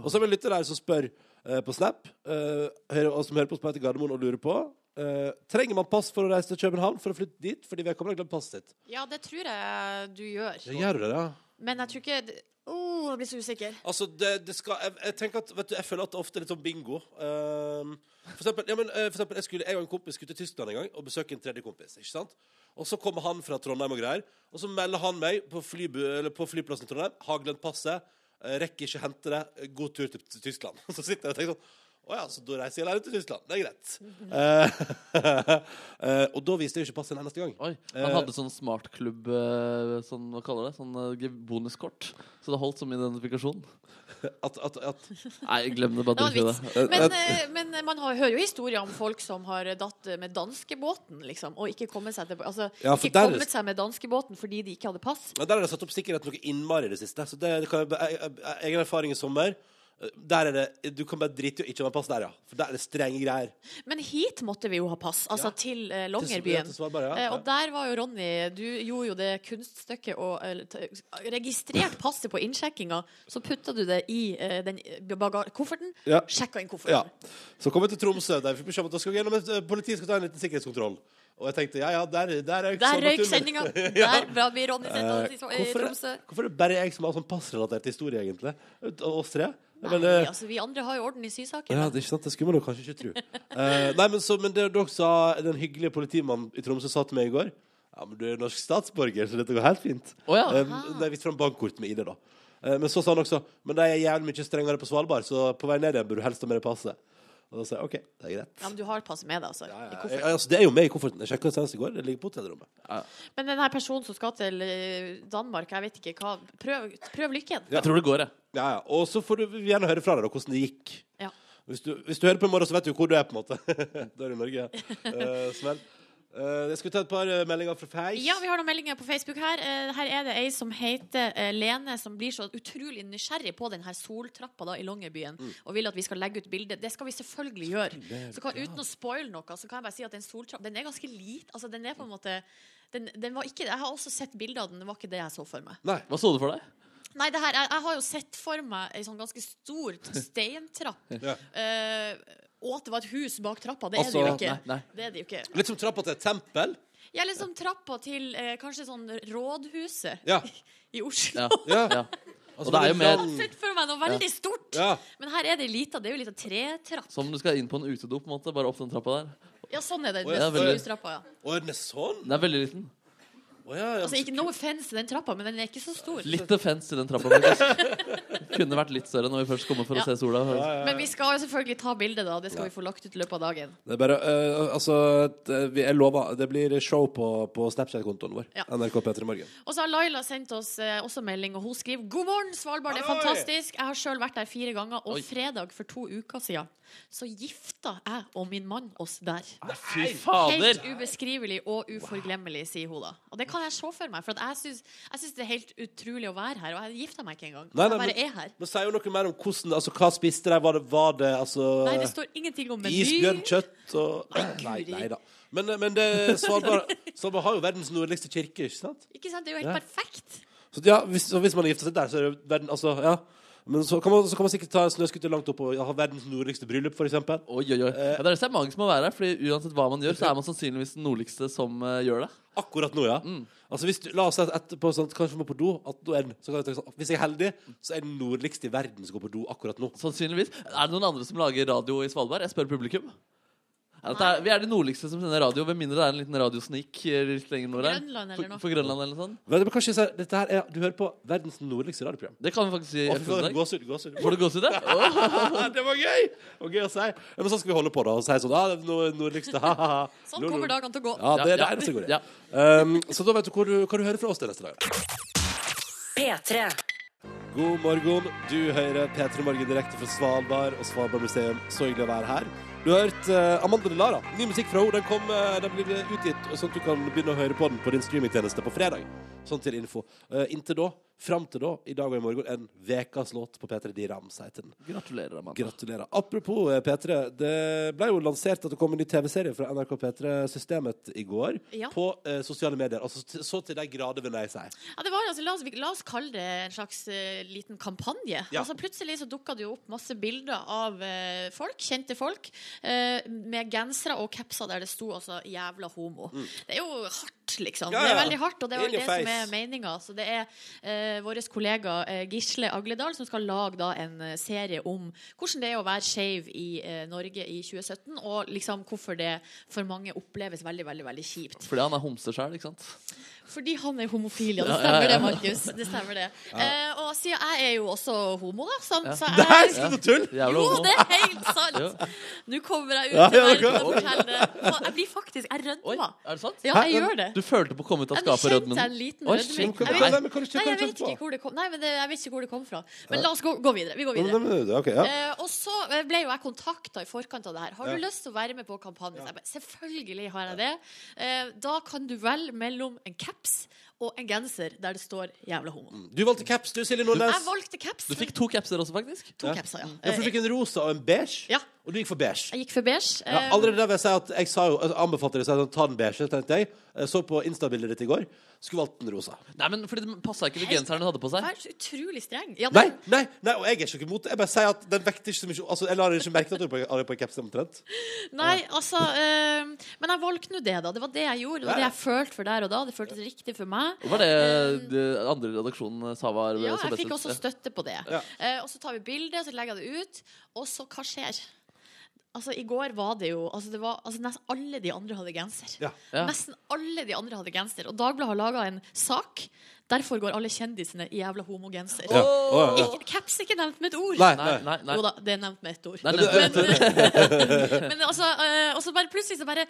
[SPEAKER 3] Og så har vi en lytter her som spør eh, på Snap, eh, hører, og som hører på oss på vei til Gardermoen og lurer på eh, Trenger man pass for å reise til København for å flytte dit? Fordi vedkommende har glemt passet sitt.
[SPEAKER 4] Ja, det tror jeg du gjør.
[SPEAKER 3] Gjør du det, da?
[SPEAKER 4] Men jeg tror ikke oh, jeg blir så usikker.
[SPEAKER 3] Altså, det, det skal jeg, jeg tenker at, vet du, jeg føler at det ofte er litt sånn bingo. Ehm, for eksempel, ja, men, eh, for eksempel jeg, skulle, jeg og en kompis skulle til Tyskland en gang og besøke en tredje kompis. ikke sant? Og så kommer han fra Trondheim og greier, og så melder han meg på, flybu, eller på flyplassen i Trondheim. Har glemt passet. eh, Rekker ikke hente det. eh, God tur til til Tyskland. *laughs* Så sitter jeg og tenker sånn Å ja, så da reiser jeg alene til Tyskland. Det er greit. Eh, *laughs* eh, og da viste jeg jo ikke passet en eneste gang.
[SPEAKER 5] Oi,
[SPEAKER 3] Eh.
[SPEAKER 5] Han hadde sånn smartklubb eh, sånn, Hva kaller det? Sånn eh, ge- bonuskort. Så det holdt som identifikasjon.
[SPEAKER 3] At, at, at,
[SPEAKER 5] Nei, glem det. Bare
[SPEAKER 4] Det var en
[SPEAKER 5] drit i
[SPEAKER 4] vits.
[SPEAKER 5] det.
[SPEAKER 4] Men, eh, men man har, hører jo historier om folk som har datt med danskebåten, liksom, og ikke kommet seg, til, altså,
[SPEAKER 3] Ja, for
[SPEAKER 4] ikke
[SPEAKER 3] der er-
[SPEAKER 4] kommet seg med danskebåten fordi de ikke hadde pass.
[SPEAKER 3] Ja, Der er det satt opp sikkerhet noe innmari i det siste. Så det, det kan, jeg- jeg- jeg- egen erfaring i sommer eh, Der er det Du kan bare drite i å ikke ha pass der, ja. For der er det strenge greier.
[SPEAKER 4] Men hit måtte vi jo ha pass, altså
[SPEAKER 3] Ja.
[SPEAKER 4] til eh,
[SPEAKER 3] Ja,
[SPEAKER 4] Longyearbyen.
[SPEAKER 3] til Svalbard, ja.
[SPEAKER 4] Eh, og der var jo Ronny Du gjorde jo det kunststykket og eh, t- registrerte passet på innsjekkinga. Så putta du det i eh, den baga kofferten.
[SPEAKER 3] Ja.
[SPEAKER 4] Sjekka inn kofferten.
[SPEAKER 3] Ja. Så kom jeg til Tromsø, der vi fikk beskjed om at da skal vi gjennom et, eh, politiet skal ta en liten sikkerhetskontroll. Og jeg tenkte ja, ja, der, der røyk
[SPEAKER 4] Der røyk
[SPEAKER 3] sommerturen.
[SPEAKER 4] sendinga!
[SPEAKER 3] *laughs* Ja.
[SPEAKER 4] Der bra blir Ronny sendt
[SPEAKER 3] Eh,
[SPEAKER 4] av til eh,
[SPEAKER 3] Hvorfor
[SPEAKER 4] Tromsø.
[SPEAKER 3] er- hvorfor er det bare jeg som har sånn passrelatert historie, egentlig? Ut Av oss tre? Men,
[SPEAKER 4] Nei,
[SPEAKER 3] eh,
[SPEAKER 4] altså, vi andre har jo orden i sysaken.
[SPEAKER 3] Ja, det er ikke sant, det skulle man jo kanskje ikke tro. Eh, nei, men, så, men det dere sa, den hyggelige politimannen i Tromsø sa til meg i går Ja, men du er jo norsk statsborger, så dette går helt fint.
[SPEAKER 5] Å ja.
[SPEAKER 3] um, nei, viste fram bankkort med ID, da. Eh, men så sa han også Men de er jævlig mye strengere på Svalbard, så på vei ned igjen bør du helst ha med deg passet. Og da sa jeg OK, det er greit.
[SPEAKER 4] Ja, men du har passet med deg, altså.
[SPEAKER 3] Ja,
[SPEAKER 4] I
[SPEAKER 3] ja,
[SPEAKER 4] kofferten.
[SPEAKER 3] ja, altså, det er jo med i kofferten. Jeg sjekka senest i går. Det ligger på hotellrommet.
[SPEAKER 4] Men den her personen som skal til eh, Danmark, jeg vet ikke hva Prøv, prøv lykken.
[SPEAKER 5] Jeg tror det går, jeg.
[SPEAKER 3] Ja, ja. Og så får du gjerne høre fra deg da, hvordan det gikk.
[SPEAKER 4] Ja.
[SPEAKER 3] Hvis du, hvis du hører på i morgen, så vet du hvor du er, på en måte. *laughs* da er du i Norge. Eh, smell. Eh, jeg skulle ta et par eh, meldinger fra Face.
[SPEAKER 4] Ja, vi har noen meldinger på Facebook her. Eh, Her er det ei som heter eh, Lene, som blir så utrolig nysgjerrig på den her soltrappa da i Longyearbyen,
[SPEAKER 3] Mm.
[SPEAKER 4] og vil at vi skal legge ut bilde. Det skal vi selvfølgelig gjøre. Så kan, uten å spoile noe, så kan jeg bare si at den soltrappa Den er ganske lit. Altså, den er på en måte den, den var ikke, jeg har også sett bilder av den, det var ikke det jeg så for meg.
[SPEAKER 3] Nei.
[SPEAKER 5] Hva så du for deg?
[SPEAKER 4] Nei, det her, jeg, jeg har jo sett for meg ei sånn ganske stor steintrapp.
[SPEAKER 3] Ja.
[SPEAKER 4] eh, og at det var et hus bak trappa. Det er det jo
[SPEAKER 5] Altså,
[SPEAKER 4] ikke.
[SPEAKER 5] nei, nei.
[SPEAKER 4] Det er det jo ikke.
[SPEAKER 3] Litt som trappa til et tempel.
[SPEAKER 4] Ja, liksom trappa til eh, kanskje sånn rådhuset
[SPEAKER 3] Ja.
[SPEAKER 4] i Oslo.
[SPEAKER 5] Ja.
[SPEAKER 3] Ja.
[SPEAKER 5] Ja.
[SPEAKER 3] Altså,
[SPEAKER 5] Og det er jo
[SPEAKER 3] en
[SPEAKER 5] mer-
[SPEAKER 4] *laughs* Jeg har
[SPEAKER 3] lang-
[SPEAKER 4] sett for meg noe veldig stort.
[SPEAKER 3] Ja.
[SPEAKER 4] Men her er det lita. Det er jo lita tretrapp.
[SPEAKER 5] Som om du skal inn på en utedo. på en måte Bare opp den trappa der.
[SPEAKER 4] Ja, sånn er det.
[SPEAKER 3] Å, ja,
[SPEAKER 4] Hvis-
[SPEAKER 3] veldig.
[SPEAKER 4] hustrappa, ja.
[SPEAKER 3] Å, er den sånn?
[SPEAKER 5] Den er veldig liten.
[SPEAKER 3] Å, ja, ja.
[SPEAKER 4] Altså, ikke No offense til den trappa, men den er ikke så stor.
[SPEAKER 5] Litt offens i den trappa, faktisk.
[SPEAKER 3] *laughs*
[SPEAKER 5] Kunne vært litt større når vi først kommer for
[SPEAKER 4] Ja.
[SPEAKER 5] å se sola.
[SPEAKER 4] Men vi skal jo selvfølgelig ta bilde, da. Det skal vi få lagt ut i løpet av dagen.
[SPEAKER 6] Det er bare eh, Altså, det- vi- jeg lover, det blir show på, på Snapchat-kontoen vår.
[SPEAKER 4] Ja.
[SPEAKER 6] NRK P3 Morgen.
[SPEAKER 4] Og så har Laila sendt oss eh, også melding, og hun skriver God morgen, Svalbard, det er
[SPEAKER 3] Halloi!»
[SPEAKER 4] fantastisk. Jeg har sjøl vært der fire ganger, og
[SPEAKER 5] Oi.
[SPEAKER 4] fredag for to uker siden så gifta jeg og min mann oss der.
[SPEAKER 5] Fy fader!
[SPEAKER 4] Helt ubeskrivelig og uforglemmelig, sier hun da. Og det kan jeg se for meg, for at jeg syns- jeg syns det er helt utrolig å være her, og jeg gifta meg ikke engang.
[SPEAKER 3] Nei,
[SPEAKER 4] Jeg
[SPEAKER 3] nei,
[SPEAKER 4] bare er her.
[SPEAKER 3] Men sier jo noe mer om hvordan Altså, hva spiste de? Var det, var det altså
[SPEAKER 4] Nei, det står ingenting om meny.
[SPEAKER 3] Isbjørn, kjøtt og
[SPEAKER 4] Nei, Guri.
[SPEAKER 3] nei da. Men, eh, men det, Svalbard, Svalbard har jo verdens nordligste kirke, ikke sant?
[SPEAKER 4] Ikke sant? Det er jo helt perfekt.
[SPEAKER 3] Så ja, hvis, så hvis man har gifta seg der, så er det verden Altså, ja. Men så kan man, så kan man sikkert ta en snøskuter langt opp og ha verdens nordligste bryllup, for eksempel.
[SPEAKER 5] Oi, oi, oi. Ja, det er det som er mange som må være her, Fordi uansett hva man gjør, så er man sannsynligvis den nordligste som eh, gjør det.
[SPEAKER 3] Akkurat nå, ja. Altså, hvis du, la oss si at etterpå sånn, at kanskje må på do. At da er den, så kan jeg tenke sånn, hvis jeg er heldig, så er den nordligste i verden som går på do akkurat nå.
[SPEAKER 5] Sannsynligvis. Er det noen andre som lager radio i Svalbard? Jeg spør publikum. Er dette, vi er de nordligste som sender radio, med mindre det er en liten radiosnik eh, litt lenger nord her.
[SPEAKER 4] Grønland eller noe.
[SPEAKER 5] For, for Grønland eller noe sånt.
[SPEAKER 3] Men, men kanskje, så, er- dette her er, du hører på verdens nordligste radioprogram.
[SPEAKER 5] Det kan vi faktisk si.
[SPEAKER 3] Å, fy
[SPEAKER 5] etter i
[SPEAKER 3] faen,
[SPEAKER 5] dag.
[SPEAKER 3] Gåsehud. gåsehud.
[SPEAKER 5] Får du gåsehud? ja? Åh.
[SPEAKER 3] det var gøy! Og gøy å si. Ja, Men så skal vi holde på da og si sånn ah, det er no- nordligste, ha-ha.
[SPEAKER 4] Sånn kommer dagene til å gå.
[SPEAKER 3] Ja, det er det
[SPEAKER 5] Ja, ja.
[SPEAKER 3] eneste som går i.
[SPEAKER 5] Ja.
[SPEAKER 3] Um, så da vet du hvor du, hva du hører fra oss til neste dag.
[SPEAKER 1] P3.
[SPEAKER 3] God morgen. Du hører P3 Morgen direkte fra Svalbard og Svalbard museum. Så hyggelig å være her. Du har hørt eh, Amanda De Lara. Ny musikk fra henne. Den, kom, eh, den blir utgitt, sånn at du kan begynne å høre på den på din streamingtjeneste på fredag. Sånn til info. Eh, inntil da, fram til da, i dag og i morgen, en vekas låt på P3 De Rams, heter den.
[SPEAKER 5] Gratulerer, Amanda.
[SPEAKER 3] Gratulerer. Apropos eh, P3. Det ble jo lansert at det kom en ny TV-serie fra NRK P3-systemet i går.
[SPEAKER 4] Ja.
[SPEAKER 3] På eh, sosiale medier. Altså t- så til de grader, vil jeg si.
[SPEAKER 4] Ja, det var, altså, la, oss, vi- la oss kalle det en slags eh, liten kampanje.
[SPEAKER 3] Ja.
[SPEAKER 4] Altså, plutselig så dukka det jo opp masse bilder av eh, folk, kjente folk, eh, med gensere og capser der det sto altså 'jævla homo'. Det er jo hardt, liksom.
[SPEAKER 3] Mm. Ja,
[SPEAKER 4] Det er
[SPEAKER 3] ja.
[SPEAKER 4] veldig hardt, og det er
[SPEAKER 3] In
[SPEAKER 4] vel
[SPEAKER 3] your
[SPEAKER 4] det som
[SPEAKER 3] face.
[SPEAKER 4] er meninga. Så det er eh, vår kollega eh, Gisle Agledal som skal lage da en eh, serie om hvordan det er å være skeiv i eh, Norge i 2017, og liksom hvorfor det for mange oppleves veldig, veldig, veldig kjipt.
[SPEAKER 5] Fordi han er homse sjøl, ikke sant?
[SPEAKER 4] Fordi han er homofil, ja.
[SPEAKER 5] Ja,
[SPEAKER 4] Det
[SPEAKER 5] ja,
[SPEAKER 4] stemmer
[SPEAKER 5] ja.
[SPEAKER 4] det, Markus. Det stemmer det. Eh, og siden jeg er jo også homo, da, sånn, så
[SPEAKER 3] Nei,
[SPEAKER 4] jeg
[SPEAKER 3] slutt å tulle!
[SPEAKER 5] Jævla
[SPEAKER 4] jo,
[SPEAKER 5] homo.
[SPEAKER 4] det er helt sant!
[SPEAKER 5] Ja.
[SPEAKER 4] Nå kommer jeg ut
[SPEAKER 3] Ja,
[SPEAKER 4] til
[SPEAKER 3] ja,
[SPEAKER 4] verden og
[SPEAKER 3] ok.
[SPEAKER 4] forteller det. Og jeg blir faktisk Jeg
[SPEAKER 5] Oi,
[SPEAKER 4] rødmer.
[SPEAKER 5] er det sant?
[SPEAKER 4] Ja, jeg gjør det.
[SPEAKER 5] Du følte på å komme ut av
[SPEAKER 4] Ja, nå
[SPEAKER 5] skapet,
[SPEAKER 4] kjente
[SPEAKER 5] Rødmen?
[SPEAKER 4] jeg en liten
[SPEAKER 5] Oi,
[SPEAKER 4] rødming.
[SPEAKER 5] shit.
[SPEAKER 3] Hva- hva-
[SPEAKER 4] Jeg vet-
[SPEAKER 3] men hva- hva- hva-
[SPEAKER 4] Nei, jeg
[SPEAKER 3] hva-
[SPEAKER 4] vet
[SPEAKER 3] hva-
[SPEAKER 4] ikke hvor det kom Nei, men det, jeg vet ikke hvor det kom fra. Men la oss gå, gå videre. Vi går
[SPEAKER 3] Men,
[SPEAKER 4] videre.
[SPEAKER 3] men, men, ok, ja.
[SPEAKER 4] Eh, og så eh, ble jo jeg kontakta i forkant av det her. Har du
[SPEAKER 3] Ja.
[SPEAKER 4] lyst til å være med på kampanjen? Så jeg bare, Selvfølgelig har jeg det. Eh, da kan du velge mellom en caps og en genser der det står 'jævla homo'.
[SPEAKER 3] Du valgte caps, du, Silje Nordnes.
[SPEAKER 4] Jeg valgte caps.
[SPEAKER 5] Du fikk to capser også, faktisk.
[SPEAKER 4] to capser, ja.
[SPEAKER 3] Ja, for du fikk en rosa og en beige,
[SPEAKER 4] Ja.
[SPEAKER 3] og du gikk for beige.
[SPEAKER 4] Jeg gikk for beige.
[SPEAKER 3] Ja,
[SPEAKER 4] eh,
[SPEAKER 3] allerede der vil jeg si at jeg sa jo, altså, anbefalte deg å si sånn, ta den beige, tenkte jeg. Jeg så på Insta-bildet ditt i går. Skulle valgt den rosa.
[SPEAKER 5] Nei, men fordi Den passa ikke til
[SPEAKER 4] Helt-
[SPEAKER 5] genseren hun hadde på seg.
[SPEAKER 4] Vær så utrolig streng. Ja,
[SPEAKER 3] Nei,
[SPEAKER 4] den-
[SPEAKER 3] nei, nei, og jeg er ikke noe imot det. Jeg bare sier at den vekter ikke så mye Altså, Jeg lar ikke merke til at du er på- er på en caps omtrent.
[SPEAKER 4] Nei, altså eh, Men jeg valgte nå det, da. Det var det jeg gjorde. Det var det jeg følte for der og da. Det føltes riktig for meg.
[SPEAKER 5] Var det det andre i redaksjonen eh, sa var
[SPEAKER 4] Ehm. Ja,
[SPEAKER 5] så
[SPEAKER 4] jeg
[SPEAKER 5] best
[SPEAKER 4] fikk
[SPEAKER 5] ut?
[SPEAKER 4] også
[SPEAKER 5] Ja.
[SPEAKER 4] støtte på det.
[SPEAKER 3] Ja.
[SPEAKER 4] Eh, og så tar vi bildet, så legger jeg det ut. Og så, hva skjer? Altså, I går var det jo altså, det var, altså, Nesten alle de andre hadde genser.
[SPEAKER 3] Ja.
[SPEAKER 5] Ja.
[SPEAKER 4] Nesten alle de andre hadde genser. Og Dagbladet har laga en sak. Derfor går alle kjendisene i jævla homogenser.
[SPEAKER 3] Ja. Å, ja, ja.
[SPEAKER 4] Ikke- Caps er ikke nevnt med et ord.
[SPEAKER 3] Nei,
[SPEAKER 5] Nei, nei, nei.
[SPEAKER 4] Jo da, det er nevnt med ett ord.
[SPEAKER 5] Nei, nei, nei, nei.
[SPEAKER 4] *laughs* Men altså, eh, og så bare plutselig så bare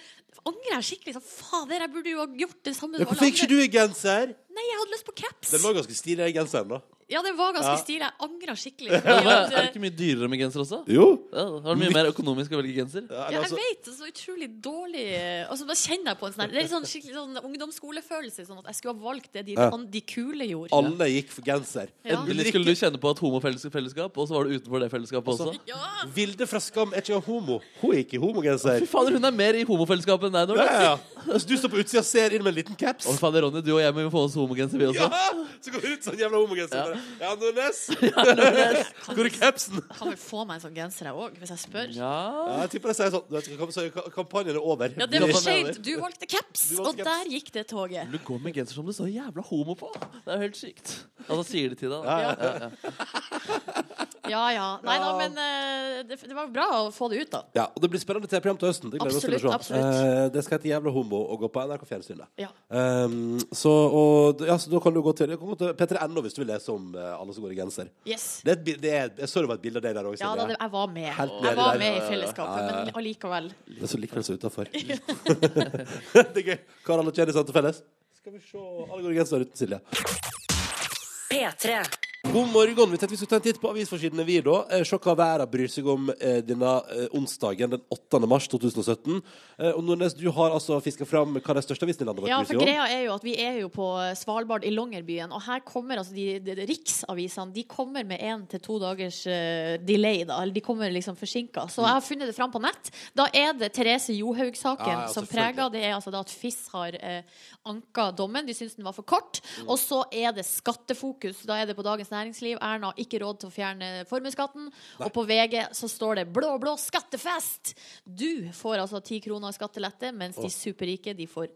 [SPEAKER 4] angrer jeg skikkelig. Så, Fader, jeg burde jo ha gjort det samme.
[SPEAKER 3] Ja,
[SPEAKER 4] som alle
[SPEAKER 3] Hvorfor fikk ikke
[SPEAKER 4] andre.
[SPEAKER 3] du i genser?
[SPEAKER 4] Nei, jeg hadde lyst på caps.
[SPEAKER 3] Den var ganske stilig, den genseren, da.
[SPEAKER 4] Ja, det var ganske
[SPEAKER 3] Ja.
[SPEAKER 4] stilig. Jeg angrer
[SPEAKER 3] *laughs*
[SPEAKER 4] skikkelig.
[SPEAKER 5] Ja,
[SPEAKER 4] fordi
[SPEAKER 5] men
[SPEAKER 4] at,
[SPEAKER 5] Er det
[SPEAKER 4] eh,
[SPEAKER 5] ikke mye dyrere med genser også?
[SPEAKER 3] Jo.
[SPEAKER 5] Ja, da var det mye mer økonomisk å velge genser?
[SPEAKER 3] Ja,
[SPEAKER 4] Ja,
[SPEAKER 3] eller
[SPEAKER 4] jeg
[SPEAKER 3] altså,
[SPEAKER 4] vet, det er så utrolig dårlig eh, altså, Da kjenner jeg på en sånn her Det er litt sånn skikkelig sånn ungdomsskolefølelse. Sånn at jeg skulle ha valgt det de,
[SPEAKER 3] Ja.
[SPEAKER 4] an- de kule gjorde.
[SPEAKER 3] alle gikk for genser.
[SPEAKER 4] Ja.
[SPEAKER 5] Endelig skulle du kjenne på et homofellesskap, og så var du utenfor det fellesskapet også.
[SPEAKER 4] Ja,
[SPEAKER 3] sånn Vilde fra Skam er ikke homo. Hun gikk i homogenser.
[SPEAKER 5] Fy fader, hun er mer i homofellesskapet enn deg nå!
[SPEAKER 3] Ja,
[SPEAKER 5] da.
[SPEAKER 3] ja, ja. Altså, du står på utsida og ser inn med en liten caps.
[SPEAKER 5] Å, fader, Ronny, du og jeg må jo få oss homogenser, vi også.
[SPEAKER 3] Ja! Så går hun ut sånn jævla homogenser.
[SPEAKER 5] Ja.
[SPEAKER 3] Ja, Nordnes! *laughs* Hvor er capsen?
[SPEAKER 4] Kan vel få meg en sånn genser, jeg òg, hvis jeg spør? Ja,
[SPEAKER 5] Ja.
[SPEAKER 3] Ja, jeg tipper de sier sånn vet du, hva, så er Kampanjen er over.
[SPEAKER 4] det var
[SPEAKER 5] Kampanjen
[SPEAKER 4] skjevt. Du valgte caps,
[SPEAKER 3] Du valgte
[SPEAKER 4] og
[SPEAKER 3] caps.
[SPEAKER 4] der gikk det toget.
[SPEAKER 5] Du går med genser som det står jævla homo på! Det er jo helt sykt. Altså sier de til deg, da.
[SPEAKER 3] Ja, ja.
[SPEAKER 4] *laughs* Ja ja. Nei da, men eh, det, det var bra å få det ut, da.
[SPEAKER 3] Ja, og Det blir spennende TV-program til høsten. Det gleder vi oss til å se.
[SPEAKER 4] Absolutt, absolutt.
[SPEAKER 3] Eh, det skal hete Jævla homo og gå på NRK Fjernsynet.
[SPEAKER 4] Ja.
[SPEAKER 3] Um, så, og, ja, så da kan du gå til, du kan gå til P3.no hvis du vil lese om eh, alle som går i genser.
[SPEAKER 4] Yes.
[SPEAKER 3] Det er, et bi- det er, jeg så det var et bilde av deg der òg.
[SPEAKER 4] Ja da, det, jeg var med.
[SPEAKER 3] Helt nedi
[SPEAKER 4] Jeg var
[SPEAKER 3] der.
[SPEAKER 4] med i
[SPEAKER 3] Ja, ja, ja.
[SPEAKER 4] fellesskapet,
[SPEAKER 3] Ja, ja, ja.
[SPEAKER 4] men allikevel.
[SPEAKER 3] det er så likevel så utafor. *laughs* det er gøy. Hva har alle kjendisene til felles? Skal vi se Alle går i genser uten Silje.
[SPEAKER 1] P3.
[SPEAKER 3] God morgen. Vi tenkte vi skulle ta en titt på avisforsidene, vi, da. Eh, Se hva verden bryr seg om eh, denne eh, onsdagen den 8. mars 2017. Eh, og Nordnes, du har altså fiska fram hva de største avisene i landet vårt
[SPEAKER 4] Ja,
[SPEAKER 3] bryr
[SPEAKER 4] for
[SPEAKER 3] seg om.
[SPEAKER 4] greia er jo at vi er jo på Svalbard i Longyearbyen, og her kommer altså de, de, de riksavisene de kommer med én til to dagers eh, delay, da. Eller de kommer liksom forsinka.
[SPEAKER 3] Mm.
[SPEAKER 4] Så jeg har funnet det fram på nett. Da er det Therese Johaug-saken
[SPEAKER 3] Ja, ja,
[SPEAKER 4] som
[SPEAKER 3] selvfølgelig.
[SPEAKER 4] preger. Det er altså da at FIS har eh, anka dommen. De syns den var for kort.
[SPEAKER 3] Mm.
[SPEAKER 4] Og så er det skattefokus. Da er det på Dagens Næringsliv. Erna har ikke råd til å fjerne formuesskatten. Og på VG så står det 'blå, blå skattefest'. Du får altså ti kroner i skattelette, mens de superrike de får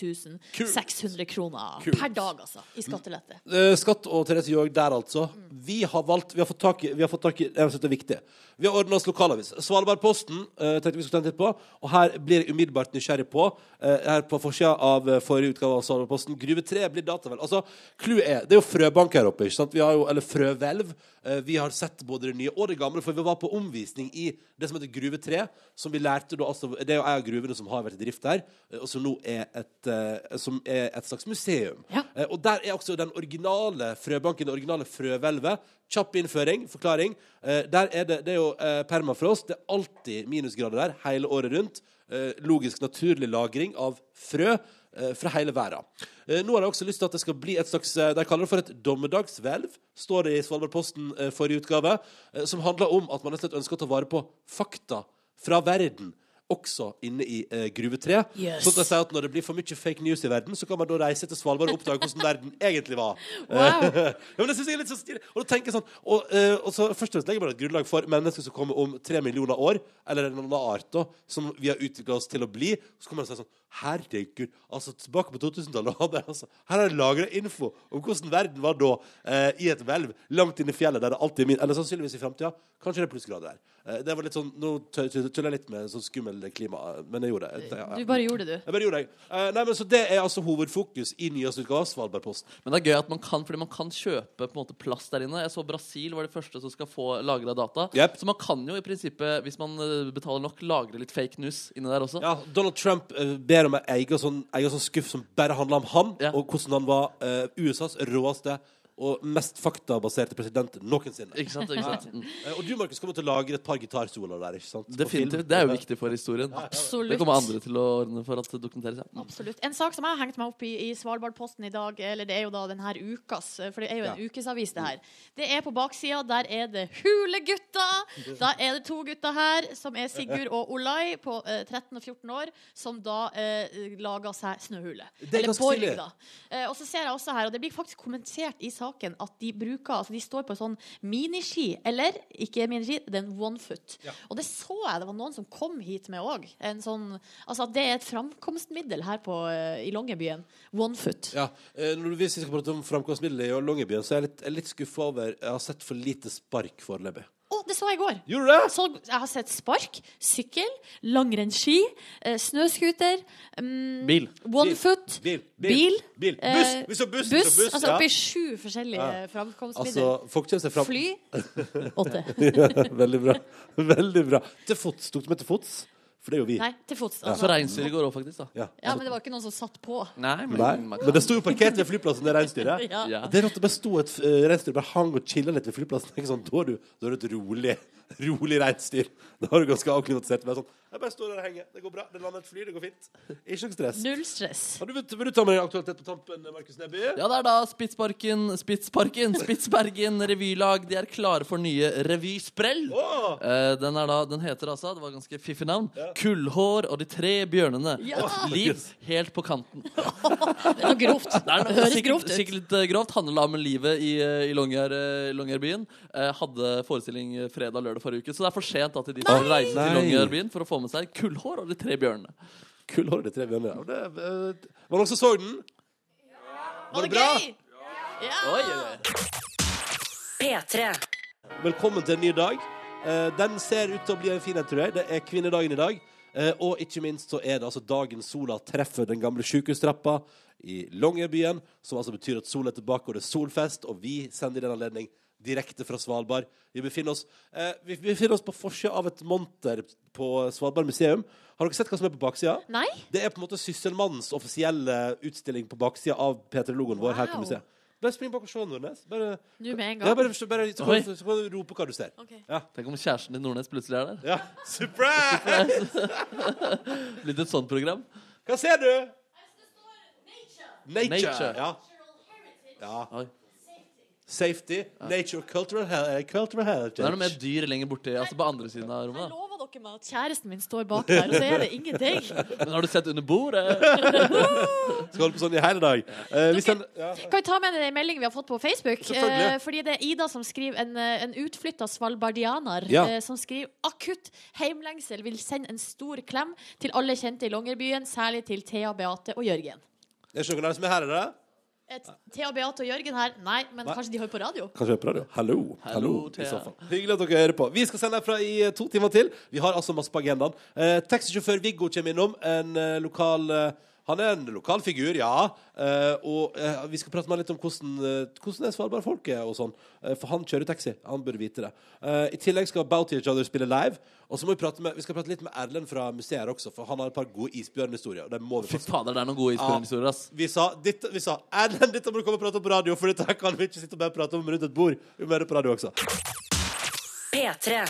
[SPEAKER 4] 1600 kroner
[SPEAKER 3] Kult.
[SPEAKER 4] per dag altså, i skattelette.
[SPEAKER 3] Eh, Skatt og Therese Jorg der, altså. Vi har valgt Vi har fått tak i Vi har fått tak i Jeg synes det er viktig. Vi har ordna oss lokalavis. Svalbardposten eh, tenkte vi skulle ta en titt på. Og her blir jeg umiddelbart nysgjerrig på eh, Her på forsida av eh, forrige utgave av Svalbardposten Gruve 3 blir datavel. Altså, clouet er Det er jo frøbank her oppe, ikke sant? Vi har jo Eller frøhvelv. Eh, vi har sett både det nye og det gamle, for vi var på omvisning i det som heter Gruve 3, som vi lærte da altså Det er jo ei av gruvene som har vært i drift der, eh, og som nå er et, eh, som er et slags museum.
[SPEAKER 4] Ja.
[SPEAKER 3] Eh, og der er også den originale frøbanken, det originale frøhvelvet. Kjapp innføring, forklaring. Eh, der er det, det er jo eh, permafrost. Det er alltid minusgrader der hele året rundt. Eh, logisk naturlig lagring av frø eh, fra hele verden. Eh, nå har jeg også lyst til at det skal bli et slags eh, De kaller det for et dommedagshvelv, står det i Svalbardposten eh, forrige utgave, eh, som handler om at man rett og slett ønsker å ta vare på fakta fra verden. Også inne i eh, Gruve 3.
[SPEAKER 4] Yes.
[SPEAKER 3] Sånn at jeg sier at når det blir for mye fake news i verden, så kan man da reise til Svalbard og oppdage hvordan verden egentlig var. Eh,
[SPEAKER 4] Wow.
[SPEAKER 3] ja, men det synes jeg er litt så stilig. Og da tenker jeg sånn og, eh, og så Først og fremst legger man et grunnlag for mennesker som kommer om tre millioner år, eller en annen art da, som vi har utvikla oss til å bli. Så kommer man og sier sånn Herregud, altså tilbake på 2000-tallet hadde jeg altså, Her har jeg lagra info om hvordan verden var da, eh, i et hvelv langt inne i fjellet, der det alltid er min Eller sannsynligvis i framtida. Kanskje det er plussgrader der. Eh, det var litt sånn Nå tø- tø- tuller jeg litt med sånn skummel klima, men jeg gjorde det. Ja, ja.
[SPEAKER 4] Du bare gjorde det, du.
[SPEAKER 3] Jeg bare gjorde det. Eh, nei, men så det er altså hovedfokus i nyeste utgave av Svalbardposten.
[SPEAKER 5] Men det er gøy at man kan Fordi man kan kjøpe på en måte plass der inne. Jeg så Brasil var det første som skal få lagra data.
[SPEAKER 3] Jep.
[SPEAKER 5] Så man kan jo i prinsippet, hvis man eh, betaler nok, lagre litt fake news inni der også.
[SPEAKER 3] Ja, Donald Trump eh, ber om en egen sånn, egen sånn skuff som bare handler om han,
[SPEAKER 5] Ja.
[SPEAKER 3] og hvordan han var eh, USAs råeste og mest faktabaserte president noensinne.
[SPEAKER 5] Ikke sant? Ikke sant? Mm.
[SPEAKER 3] Eh, og du, Markus, kommer til å lagre et par gitarsoloer der, ikke sant? På film.
[SPEAKER 5] Definitivt. Det er jo viktig for historien.
[SPEAKER 4] Absolutt.
[SPEAKER 5] Det kommer andre til å ordne for at det dokumenteres. Ja.
[SPEAKER 4] Absolutt. En sak som jeg har hengt meg opp i i Svalbardposten i dag, eller det er jo da denne ukas, eh, for det er jo en
[SPEAKER 3] Ja.
[SPEAKER 4] ukesavis det her. Det er på baksida, der er det Hulegutta! Da er det to gutter her, som er Sigurd og Olai på eh, 13 og 14 år, som da eh, lager seg snøhule.
[SPEAKER 3] Det er ganske
[SPEAKER 4] borg,
[SPEAKER 3] stilig.
[SPEAKER 4] da. Eh, og så ser jeg også her, og det blir faktisk kommentert i saken, at de bruker, altså de står på sånn miniski, eller ikke miniski, det er en onefoot. Og det så jeg, det var noen som kom hit med òg. Sånn, altså at det er et framkomstmiddel her på, eh, i Longyearbyen. Onefoot.
[SPEAKER 3] Ja, eh, når du, Hvis vi skal prate om framkomstmiddelet i Longyearbyen, så er jeg litt, jeg er litt skuffa over Jeg har sett for lite spark foreløpig.
[SPEAKER 4] Å, det så jeg i går!
[SPEAKER 3] Gjorde du det?
[SPEAKER 4] Så jeg har sett spark, sykkel, langrennsski, eh, snøscooter, mm,
[SPEAKER 5] Bil.
[SPEAKER 4] onefoot,
[SPEAKER 3] Bil,
[SPEAKER 4] bil,
[SPEAKER 3] bil.
[SPEAKER 4] eh,
[SPEAKER 3] Buss! Vi så buss! vi så
[SPEAKER 4] buss.
[SPEAKER 3] buss,
[SPEAKER 4] Altså
[SPEAKER 3] ja.
[SPEAKER 4] oppi sju forskjellige
[SPEAKER 3] Altså,
[SPEAKER 4] framkomstmidler.
[SPEAKER 3] folk kommer seg fram *laughs*
[SPEAKER 4] Fly åtte.
[SPEAKER 3] Ja, veldig bra. Veldig bra. Til fots. Tok du med til fots? For det er jo vi.
[SPEAKER 4] Nei, til fots.
[SPEAKER 5] Så
[SPEAKER 4] Altså.
[SPEAKER 5] reinsdyret går òg, faktisk. da
[SPEAKER 3] Ja. Altså,
[SPEAKER 4] Ja, men det var ikke noen som satt på.
[SPEAKER 5] Nei, men,
[SPEAKER 3] Nei.
[SPEAKER 5] man
[SPEAKER 3] Men
[SPEAKER 5] kan.
[SPEAKER 3] det sto jo parkert ved flyplassen, det reinsdyret.
[SPEAKER 4] *laughs* Ja.
[SPEAKER 5] Ja.
[SPEAKER 3] Det er rått, det bare sto et uh, reinsdyr bare hang og chilla litt ved *laughs* flyplassen. Tenk sånn, da er du, da er du et rolig, rolig reinsdyr. Da er du ganske avklimatisert. Bare sånn, Jeg bare står der og henger. Det går bra. Det lander et fly, det går fint. Ikke noe stress.
[SPEAKER 4] Null stress.
[SPEAKER 3] Har du, vil du ta med deg aktualitet på tampen, Markus Neby?
[SPEAKER 5] Ja, det er da Spitsparken, Spitsparken, Spitsbergen revylag. De er klare for nye revysprell.
[SPEAKER 3] Åh!
[SPEAKER 5] Eh, den, er da, den heter altså, det var ganske fiffig navn, 'Kullhår og de tre bjørnene'. Et liv helt på kanten.
[SPEAKER 4] Det er noe grovt.
[SPEAKER 5] Det er
[SPEAKER 4] Det
[SPEAKER 5] noe-
[SPEAKER 4] høres
[SPEAKER 5] sikkert,
[SPEAKER 4] grovt ut.
[SPEAKER 5] Sikkert litt eh, grovt. Handler da om livet i, eh, i Longyear, eh, Longyearbyen. Eh, hadde forestilling eh, fredag lørdag forrige uke, så det er for sent da til de som reiser til
[SPEAKER 6] Nei!
[SPEAKER 5] Longyearbyen for å få med seg 'Kullhår og de tre bjørnene'.
[SPEAKER 6] Kullhåret tre bjørner.
[SPEAKER 3] Ja, Det, eh, var det noen som så den?
[SPEAKER 4] Var det
[SPEAKER 3] bra?
[SPEAKER 4] gøy? Ja.
[SPEAKER 5] Oi, oi, oi.
[SPEAKER 1] P3.
[SPEAKER 3] Velkommen til en ny dag. Eh, Den ser ut til å bli en fin en, tror jeg. Det er kvinnedagen i dag. Eh, Og ikke minst så er det altså dagen sola treffer den gamle sykehustrappa i Longyearbyen, som altså betyr at sola er tilbake, og det er solfest, og vi sender i den anledning direkte fra Svalbard. Vi befinner oss, eh, vi befinner oss på forsida av et monter på Svalbard museum. Har dere sett hva som er på baksida?
[SPEAKER 4] Nei?
[SPEAKER 3] Det er på en måte Sysselmannens offisielle utstilling på baksida av P3-logoen vår her på
[SPEAKER 4] Wow.
[SPEAKER 3] museet. Bare spring bak og se, Nordnes. Bare,
[SPEAKER 4] Nå med en gang.
[SPEAKER 3] ja, bare, bare, så,
[SPEAKER 5] Oi.
[SPEAKER 3] kan, så kan du rope hva du ser.
[SPEAKER 4] Ok.
[SPEAKER 3] Ja.
[SPEAKER 5] Tenk om kjæresten din Nordnes plutselig er der.
[SPEAKER 3] ja. Surprise!
[SPEAKER 5] Blitt et sånt program.
[SPEAKER 3] Hva ser du? Nature.
[SPEAKER 5] Nature.
[SPEAKER 3] Ja.
[SPEAKER 5] Oi.
[SPEAKER 3] Safety. Nature. Cultural, he- cultural heritage.
[SPEAKER 5] Det er noe med dyr lenger borte, altså på andre siden av
[SPEAKER 4] Jeg
[SPEAKER 5] rommet. da.
[SPEAKER 4] lover dere meg at kjæresten min står bak der, og så er det ingenting.
[SPEAKER 5] Men har du sett under bordet?
[SPEAKER 3] Skal holde på sånn i hele dag. Eh, hvis den, ja.
[SPEAKER 4] Kan vi ta med en melding vi har fått på Facebook?
[SPEAKER 3] Selvfølgelig.
[SPEAKER 4] Eh, fordi det er Ida som skriver En, eh, en utflytta svalbardianer
[SPEAKER 3] Ja.
[SPEAKER 4] eh, som skriver akutt heimlengsel vil sende en stor klem til alle kjente i Longyearbyen, særlig til Thea, Beate og Jørgen.
[SPEAKER 3] Er det ikke noen av dere som er her i dag?
[SPEAKER 4] Et, Thea, Beate og Jørgen her? Nei, men kanskje de hører på radio?
[SPEAKER 6] Kan kjøpe radio. Hallo. Hallo,
[SPEAKER 5] Hallo,
[SPEAKER 6] i så
[SPEAKER 5] Thea.
[SPEAKER 6] fall.
[SPEAKER 3] Hyggelig at dere hører på. Vi skal sende herfra i eh, to timer til. Vi har altså masse på agendaen. Eh, Taxisjåfør Viggo kommer innom. En eh, lokal eh, Han er en lokal figur, ja. Eh, og eh, vi skal prate med han litt om hvordan, eh, hvordan er Svalbard-folket og sånn. Eh, for han kjører taxi. Han burde vite det. Eh, I tillegg skal Bounty Each Other spille live. Og så må vi prate med Vi skal prate litt med Erlend fra museet her også, for han har et par gode isbjørnhistorier. Og det må vi
[SPEAKER 5] Fy
[SPEAKER 3] få
[SPEAKER 5] fader, det er noen gode isbjørnhistorier, ass.
[SPEAKER 3] vi sa, dette, vi sa Erlend, dette må du komme og prate om på radio, for dette her kan vi ikke sitte og bare prate om rundt et bord. Vi må gjøre det på radio også.
[SPEAKER 1] P3.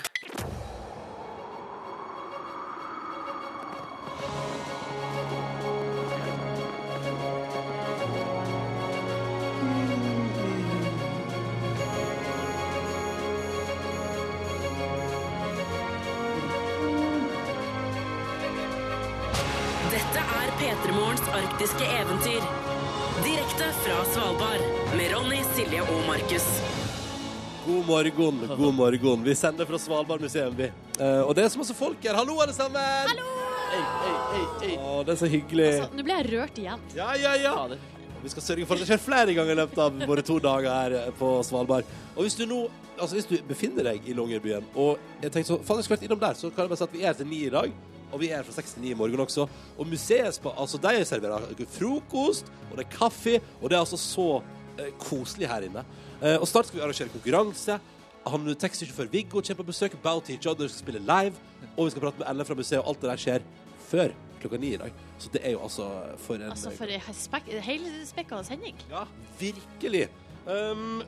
[SPEAKER 1] Dette er P3morgens arktiske eventyr. Direkte fra Svalbard med Ronny, Silje og Markus.
[SPEAKER 3] God morgen, god morgen. Vi sender fra Svalbard museum, vi. Eh, og det er så masse folk her. Hallo, alle sammen! Hallo!
[SPEAKER 5] Ei, ei, ei, ei.
[SPEAKER 3] det er så hyggelig.
[SPEAKER 4] Så, Nå ble jeg rørt igjen.
[SPEAKER 3] Ja, ja, ja.
[SPEAKER 5] Fader.
[SPEAKER 3] Vi skal sørge for at det skjer flere ganger i løpet av våre to dager her på Svalbard. Og hvis du nå altså hvis du befinner deg i Longyearbyen, og jeg tenkte så, faen, jeg skulle vært innom der, så kan jeg bare si at vi er her til ni i dag. Og vi er her fra seks til ni i morgen også. Og museet spa- altså de serverer frokost, og det er kaffe, og det er altså så eh, koselig her inne. Eh, og snart skal vi arrangere konkurranse. Han Taxisjåfør Viggo kommer på besøk. Bounty Each Other skal spille live. Og vi skal prate med Ellen fra museet, og alt det der skjer før klokka ni i dag. Så det er jo altså for en
[SPEAKER 4] Altså, for ei spek helspekka sending.
[SPEAKER 3] ja, virkelig. Um,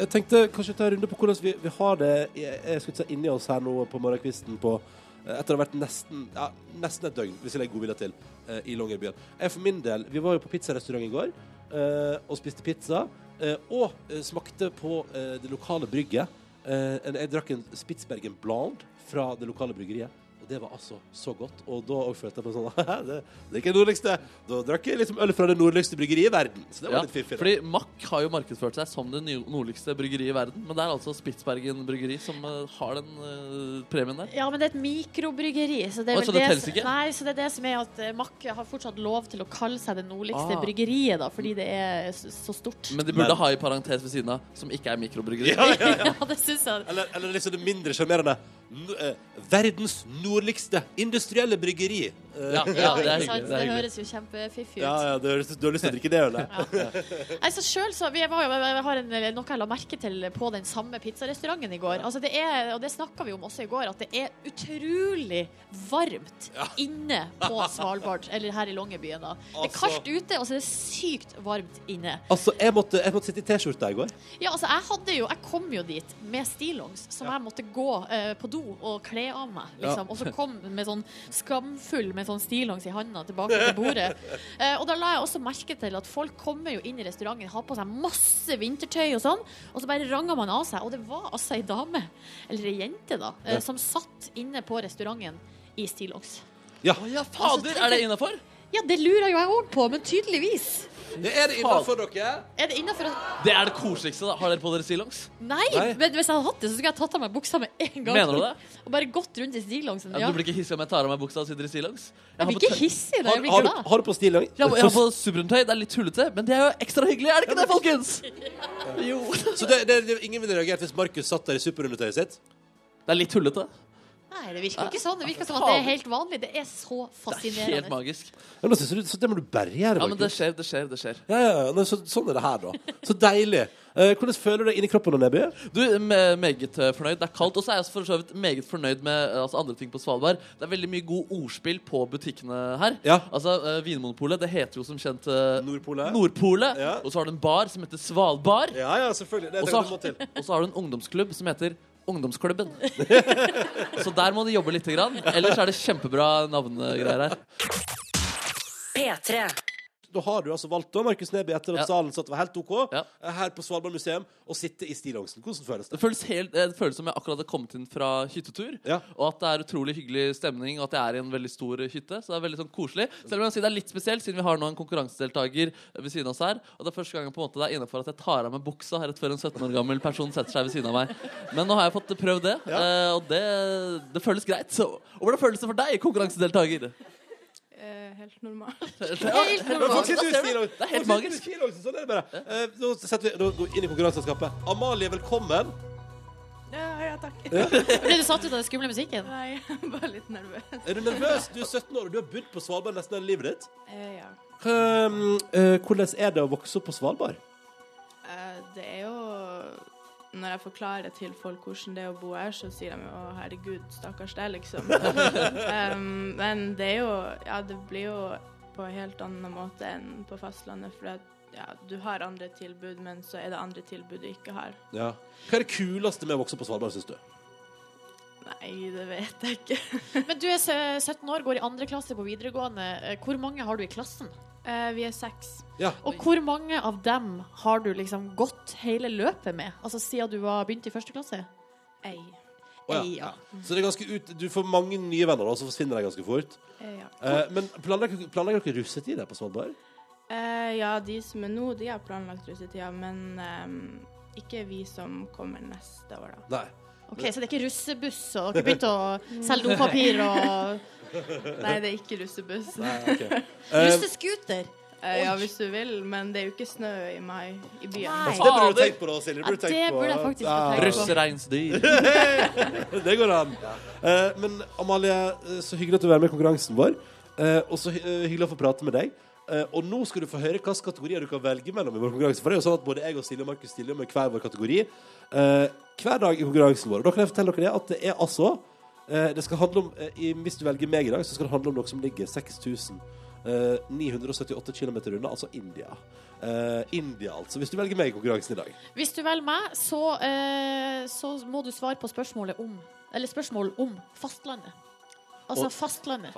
[SPEAKER 3] jeg tenkte kanskje ta en runde på hvordan vi, vi har det jeg, jeg skulle si inni oss her nå på morgenkvisten på eh, etter å ha vært nesten, ja, nesten et døgn, hvis jeg legger godvilje til, eh, i Longyearbyen. Jeg for min del Vi var jo på pizzarestaurant i går eh, og spiste pizza. eh, og eh, smakte på eh, det lokale brygget. Eh, en- jeg drakk en Spitsbergen Blonde fra det lokale bryggeriet. Og det var altså så godt. Og da også følte jeg på sånn *laughs* det, det er ikke det nordligste. Da drakk jeg liksom øl fra det nordligste bryggeriet i verden. Så det var
[SPEAKER 5] Ja,
[SPEAKER 3] litt fiffig. da.
[SPEAKER 5] fordi Mack har jo markedsført seg som det ny- nordligste bryggeriet i verden. Men det er altså Spitsbergen bryggeri som eh, har den eh, premien der.
[SPEAKER 4] Ja, men det er et mikrobryggeri. Så det, er
[SPEAKER 5] Å,
[SPEAKER 4] vel
[SPEAKER 5] så det
[SPEAKER 4] det,
[SPEAKER 5] telles
[SPEAKER 4] som-
[SPEAKER 5] ikke?
[SPEAKER 4] Nei, så det er det som er at eh, Mack har fortsatt lov til å kalle seg det nordligste
[SPEAKER 5] Ah.
[SPEAKER 4] bryggeriet, da, fordi det er s- så *laughs* stort.
[SPEAKER 5] Men de burde
[SPEAKER 3] Men-
[SPEAKER 5] ha i parentes ved siden av som ikke er mikrobryggeri.
[SPEAKER 3] Ja, ja, ja.
[SPEAKER 4] ja, det syns jeg.
[SPEAKER 3] Eller, eller liksom det mindre sjarmerende. N- eh, Verdens nordligste industrielle bryggeri.
[SPEAKER 6] Eh,
[SPEAKER 5] Ja, ja,
[SPEAKER 4] ikke
[SPEAKER 5] det er
[SPEAKER 4] sant?
[SPEAKER 5] hyggelig. Det
[SPEAKER 4] det
[SPEAKER 5] er hyggelig.
[SPEAKER 4] høres jo kjempefiffig ut.
[SPEAKER 6] ja, ja, du, har lyst, du har lyst til å drikke det ølet?
[SPEAKER 4] Altså selv så, vi var jo, jeg har en, noe jeg la merke til på den samme pizzarestauranten i går. Altså det er, og det snakka vi om også i går, at det er utrolig varmt inne på Svalbard. Eller her i Longyearbyen, da. det er
[SPEAKER 3] Altså-
[SPEAKER 4] kaldt ute, og så er det sykt varmt inne.
[SPEAKER 6] Altså, jeg måtte, jeg måtte sitte i T-skjorta i går.
[SPEAKER 4] Ja, altså jeg hadde jo Jeg kom jo dit med stillongs som jeg måtte gå eh, på do og kle av meg, liksom. Og så
[SPEAKER 5] *laughs*
[SPEAKER 4] kom med sånn skamfull med sånn stillongs i handa tilbake til
[SPEAKER 5] *laughs*
[SPEAKER 4] bordet. Eh, og da la jeg også merke til at folk kommer jo inn i restauranten, har på seg masse vintertøy og sånn, og så bare ranger man av seg. Og det var altså ei dame, eller ei jente, da, eh, som satt inne på restauranten i stillongs. Altså,
[SPEAKER 6] Ja.
[SPEAKER 5] Ja, fader! Er det innafor?
[SPEAKER 4] Ja, det lurer jo jeg òg på, men tydeligvis.
[SPEAKER 3] Det er det innenfor dere.
[SPEAKER 4] Er det innafor at
[SPEAKER 5] Det er det koseligste, da. Har dere på dere stillongs?
[SPEAKER 4] Nei,
[SPEAKER 6] Nei.
[SPEAKER 4] men hvis jeg hadde hatt det, så skulle jeg tatt av meg buksa med en gang.
[SPEAKER 5] Mener du det?
[SPEAKER 4] Og bare gått rundt i stillongsen.
[SPEAKER 5] Ja,
[SPEAKER 4] Ja.
[SPEAKER 5] du blir ikke hissig om jeg tar av meg buksa og sitter i stillongs? Jeg
[SPEAKER 4] Jeg
[SPEAKER 5] har
[SPEAKER 4] blir
[SPEAKER 5] på
[SPEAKER 4] ikke
[SPEAKER 5] tø-
[SPEAKER 4] hissig da, jeg blir
[SPEAKER 6] Har, du-
[SPEAKER 4] glad.
[SPEAKER 6] har du på stillongs?
[SPEAKER 5] Ja, jeg har på subrundtøy. Det er litt tullete, men det er jo ekstra hyggelig, er det ikke det, folkens? Jo. *laughs*
[SPEAKER 3] Så det, det, det, ingen ville reagert hvis Markus satt der i superundertøyet sitt?
[SPEAKER 5] Det er litt tullete.
[SPEAKER 4] Nei, det virker ikke sånn. Det virker som at det er helt vanlig. Det er så
[SPEAKER 5] Det er helt
[SPEAKER 4] fascinerende.
[SPEAKER 5] magisk.
[SPEAKER 6] Ja, nå synes du, så det må du bare gjøre,
[SPEAKER 5] Ja, men det
[SPEAKER 6] Markus.
[SPEAKER 5] skjer, det skjer, det skjer.
[SPEAKER 6] Ja, ja, ja. Nei, så, sånn er det her, da. Så deilig. Eh, hvordan føler du deg inni kroppen og Nebby?
[SPEAKER 5] Du, me- meget eh, fornøyd. Det er kaldt. Og så er jeg også for så vidt meget fornøyd med eh, altså, andre ting på Svalbard. Det er veldig mye god ordspill på butikkene her.
[SPEAKER 6] Ja.
[SPEAKER 5] Altså, eh, Vinmonopolet, det heter jo som kjent eh,
[SPEAKER 3] Nordpolet.
[SPEAKER 5] Nordpolet.
[SPEAKER 3] Ja.
[SPEAKER 5] Og så har du en bar som heter Svalbard.
[SPEAKER 3] Ja, ja, selvfølgelig. Det
[SPEAKER 5] Og
[SPEAKER 3] er
[SPEAKER 5] så
[SPEAKER 3] det du må til.
[SPEAKER 5] og så har du en ungdomsklubb som heter
[SPEAKER 3] *laughs*
[SPEAKER 5] Ungdomsklubben. så der må du jobbe lite grann. Ellers er det kjempebra navnegreier her.
[SPEAKER 1] P3.
[SPEAKER 3] Da har du altså valgt da, Markus Neby, etter at
[SPEAKER 5] Ja.
[SPEAKER 3] salen satt var helt OK,
[SPEAKER 5] Ja.
[SPEAKER 3] eh, her på Svalbard museum, og sitte i stillongsen. Hvordan føles det?
[SPEAKER 5] Det føles, helt, eh, det føles som jeg akkurat har kommet inn fra hyttetur.
[SPEAKER 3] Ja.
[SPEAKER 5] Og at det er utrolig hyggelig stemning, og at jeg er i en veldig stor eh, hytte. Så det er veldig sånn koselig. Selv om jeg vil si det er litt spesielt, siden vi har nå en konkurransedeltaker eh, ved siden av oss her. Og det er første gangen på en måte det er innenfor at jeg tar av meg buksa rett før en 17 år gammel person setter seg ved siden av meg. Men nå har jeg fått prøvd det, eh, og det, det føles greit. Så, og hvordan føles det for deg, konkurransedeltaker?
[SPEAKER 7] Eh, helt normal. *laughs*
[SPEAKER 4] Helt
[SPEAKER 3] Folk
[SPEAKER 4] normalt.
[SPEAKER 3] sitter jo i
[SPEAKER 5] ser du?
[SPEAKER 3] stillongs.
[SPEAKER 5] Det er helt
[SPEAKER 3] Folk sitter i
[SPEAKER 5] magisk.
[SPEAKER 3] stillongsen, Sånn er det bare. Eh, Nå setter vi nå går vi inn i konkurranseskapet. Amalie, velkommen.
[SPEAKER 7] Ja, ja, takk.
[SPEAKER 4] Ble du satt ut av den skumle musikken?
[SPEAKER 7] Nei, jeg er bare litt nervøs.
[SPEAKER 3] Er du nervøs? Du er 17 år, og du har bodd på Svalbard nesten hele livet ditt.
[SPEAKER 7] Eh, ja.
[SPEAKER 3] Ehm, eh, hvordan er det å vokse opp på Svalbard?
[SPEAKER 7] Eh, det er jo Når jeg forklarer til folk hvordan det er å bo her, så sier de jo 'Å, herregud, stakkars deg', liksom. *laughs* Em, men det er jo Ja, det blir jo på en helt annen måte enn på fastlandet, for at, ja, du har andre tilbud, men så er det andre tilbud du ikke har.
[SPEAKER 3] Ja. Hva er det kuleste med å vokse opp på Svalbard, syns du?
[SPEAKER 7] Nei, det vet jeg ikke.
[SPEAKER 4] Men du er sø- 17 år, går i andre klasse på videregående. Eh, Hvor mange har du i klassen?
[SPEAKER 7] Eh, vi er seks.
[SPEAKER 4] Og hvor mange av dem har du liksom gått hele løpet med? Altså siden du var begynte i første klasse?
[SPEAKER 7] Ei.
[SPEAKER 3] Å, ja.
[SPEAKER 4] Ei, ja.
[SPEAKER 3] Så det er ganske ut, du får mange nye venner, da, og så forsvinner de ganske fort.
[SPEAKER 7] Eh, ja.
[SPEAKER 3] Eh, men planlegger, planlegger dere russetid der på Svalbard?
[SPEAKER 7] Eh, ja, de som er nå, de har planlagt russetida, men ehm, ikke vi som kommer neste år, da.
[SPEAKER 3] Nei.
[SPEAKER 4] Ok, Så det er ikke russebuss, og dere begynte å selge dopapir og
[SPEAKER 7] Nei, det er ikke russebuss.
[SPEAKER 3] Eh,
[SPEAKER 4] russescooter?
[SPEAKER 7] Eh, ja, hvis du vil, men det er jo ikke snø i mai i byen.
[SPEAKER 3] det burde du tenkt på, da, Silje.
[SPEAKER 4] Ja, det burde jeg faktisk ha tenkt på.
[SPEAKER 5] Russereinsdyr.
[SPEAKER 3] Det går an. Eh, men Amalie, eh, så hyggelig at du er med i konkurransen vår. Eh, og så hy- eh, hyggelig å få prate med deg. Eh, og nå skal du få høre hvilke kategorier du kan velge mellom. i vår konkurranse For det er jo sånn at Både jeg og Silje og Markus stiller med hver vår kategori eh, hver dag i konkurransen vår. Og da kan jeg fortelle dere det at det er altså eh, Det skal handle om eh, i- Hvis du velger meg i dag, så skal det handle om noe som ligger 6000 eh, 978 km unna, altså India. Eh, India, altså. Hvis du velger meg i konkurransen i dag.
[SPEAKER 4] Hvis du velger meg, så, eh, så må du svare på spørsmålet om Eller spørsmål om fastlandet. Altså fastlandet.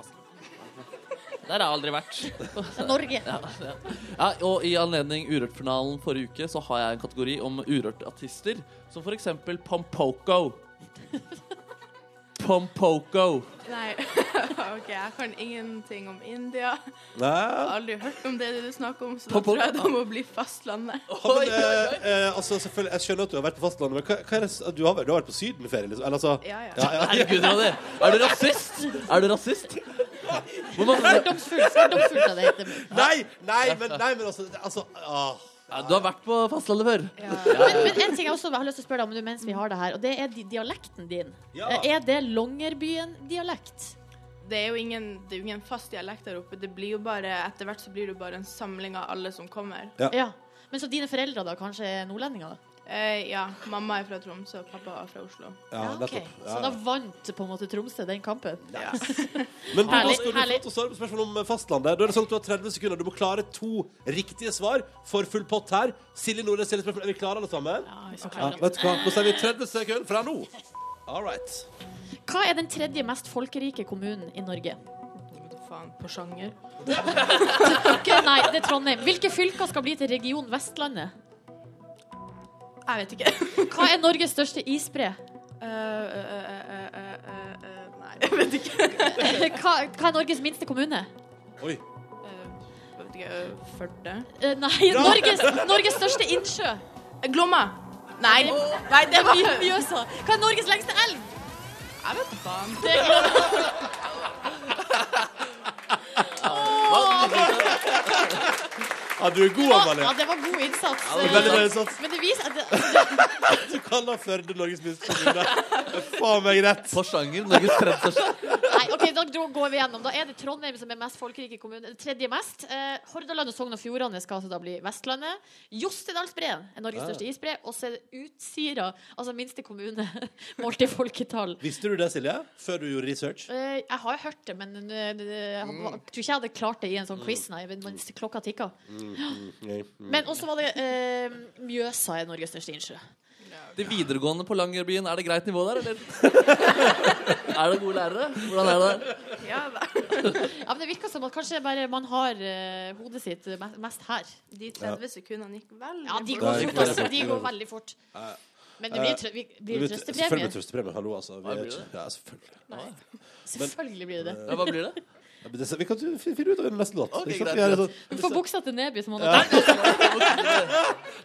[SPEAKER 5] Der har jeg aldri vært.
[SPEAKER 4] Norge.
[SPEAKER 5] Ja, og I anledning Urørt-finalen forrige uke så har jeg en kategori om urørt-artister. Som for eksempel
[SPEAKER 3] *laughs*
[SPEAKER 5] Pompoko. Pompoko.
[SPEAKER 7] Nei, *laughs* OK, jeg kan ingenting om India. Jeg
[SPEAKER 3] Nei.
[SPEAKER 7] har aldri hørt om det du snakker om, så
[SPEAKER 5] På-
[SPEAKER 7] da
[SPEAKER 5] på-
[SPEAKER 7] tror jeg det må bli fastlandet.
[SPEAKER 3] Ja, men, eh, eh, altså, selvfølgelig, jeg skjønner at du har vært på fastlandet, men hva, hva er det, s- du, har, vært- du har vært på sydenferie, liksom? Eller, altså,
[SPEAKER 7] Ja, ja.
[SPEAKER 5] Herregud, Ronny. Er du rasist? Er du rasist? Hvor mange,
[SPEAKER 4] Fordomsfullt, fordomsfullt er det heter.
[SPEAKER 3] *laughs* Nei, nei, men, nei, men altså, det- altså ah.
[SPEAKER 5] ja, du har vært på fastlandet før.
[SPEAKER 4] Men, men en ting jeg også har lyst til å spørre deg om nå mens vi har det her, og det er di- dialekten din.
[SPEAKER 3] Ja.
[SPEAKER 4] Eh, Er det Longyearbyen-dialekt?
[SPEAKER 7] det er jo ingen, det er jo ingen fast dialekt der oppe. Det blir jo bare, Etter hvert så blir det jo bare en samling av alle som kommer.
[SPEAKER 4] Ja. Men så dine foreldre da kanskje er nordlendinger? da?
[SPEAKER 7] Eh, ja, mamma er fra Tromsø, og pappa er fra Oslo.
[SPEAKER 6] Ja,
[SPEAKER 4] ok.
[SPEAKER 6] nettopp.
[SPEAKER 4] Så
[SPEAKER 6] Ja,
[SPEAKER 4] da
[SPEAKER 6] ja.
[SPEAKER 4] vant på en måte Tromsø den kampen?
[SPEAKER 3] Men da
[SPEAKER 4] Herlig,
[SPEAKER 3] skal du få
[SPEAKER 4] herlig.
[SPEAKER 3] lov til å svare på spørsmål om fastlandet. Da er det sånn at Du har 30 sekunder. Du må klare to riktige svar for full pott her. Silje Nordnes stiller spørsmål. Er vi klare, alle sammen?
[SPEAKER 4] Ja, vi skal
[SPEAKER 3] Ja,
[SPEAKER 4] klare det.
[SPEAKER 3] vet du hva? Nå sier vi 30 sekunder fra nå. All right.
[SPEAKER 4] Hva er den tredje mest folkerike kommunen i Norge?
[SPEAKER 7] Faen, på sjanger.
[SPEAKER 4] Ok, nei, det er Trondheim. Hvilke fylker skal bli til region Vestlandet?
[SPEAKER 7] Jeg vet ikke. *laughs*
[SPEAKER 4] Hva er Norges største isbre? *laughs*
[SPEAKER 7] Eh, eh, eh, eh, eh, eh, eh, nei, jeg vet
[SPEAKER 8] *laughs*
[SPEAKER 7] ikke.
[SPEAKER 4] Hva, hva er Norges minste kommune?
[SPEAKER 3] Oi.
[SPEAKER 7] Eh, jeg vet ikke, eh, Førde?
[SPEAKER 4] Eh, Nei, Norges, Norges største innsjø.
[SPEAKER 7] Eh, Glomma! Nei, nei, det
[SPEAKER 8] *laughs*
[SPEAKER 7] var
[SPEAKER 4] Mjø- Mjøsa. Hva er Norges lengste elv?
[SPEAKER 7] Jeg vet faen.
[SPEAKER 4] Det er Glomma.
[SPEAKER 3] Ja, du er god, Amalie.
[SPEAKER 4] Ja, det var god innsats.
[SPEAKER 3] Veldig bra innsats.
[SPEAKER 4] Men det viser at det, altså,
[SPEAKER 3] Du kaller Førde Norges minste kommune. Det er Faen meg rett.
[SPEAKER 5] På sjanger. Norges tredje største.
[SPEAKER 4] Nei, ok, da dro- går vi gjennom. Da er det Trondheim som er mest folkerike kommune. eh, Tredje mest. Eh, Hordaland og Sogn og Fjordane skal altså da bli Vestlandet. Jostedalsbreen er Norges største isbre. Og så er det Utsira, altså minste kommune, *laughs* målt i folketall.
[SPEAKER 3] Visste du det, Silje? Før du gjorde research?
[SPEAKER 4] Eh, jeg har jo hørt det, men eh, det- jeg tror ikke jeg hadde klart det i en sånn quiz, nei. Men mens klokka tikka. Men også var det eh, Mjøsa er Norges største innsjø.
[SPEAKER 5] De videregående på Langerbyen, er det greit nivå der, eller? Er det gode lærere? Hvordan er det der?
[SPEAKER 7] Ja, da.
[SPEAKER 4] Ja, men det virker som at kanskje bare man har eh, hodet sitt me- mest her.
[SPEAKER 7] De 30 sekundene gikk veldig
[SPEAKER 4] Ja, de
[SPEAKER 7] fort.
[SPEAKER 4] går
[SPEAKER 6] gikk
[SPEAKER 4] fort,
[SPEAKER 6] veldig
[SPEAKER 4] altså.
[SPEAKER 6] fort,
[SPEAKER 4] De
[SPEAKER 6] det
[SPEAKER 4] går
[SPEAKER 6] gjorde
[SPEAKER 4] veldig fort. Men det blir, trø vi, blir det
[SPEAKER 3] Selvfølgelig
[SPEAKER 4] trøstepremie.
[SPEAKER 3] blir det trøstepremie. Hallo, altså. Vi
[SPEAKER 5] Ja,
[SPEAKER 3] er
[SPEAKER 5] blir
[SPEAKER 3] ikke
[SPEAKER 5] det?
[SPEAKER 3] Ja, selvfølgelig.
[SPEAKER 4] Selvfølgelig blir det det.
[SPEAKER 5] Ja, hva blir det?
[SPEAKER 3] Ja, men det- Vi kan jo fin- finne ut av det i neste låt.
[SPEAKER 5] Ok,
[SPEAKER 3] Ikke sant?
[SPEAKER 5] greit,
[SPEAKER 3] Vi er
[SPEAKER 5] greit.
[SPEAKER 3] sånn-
[SPEAKER 4] Du får buksa til Neby, som han har tatt.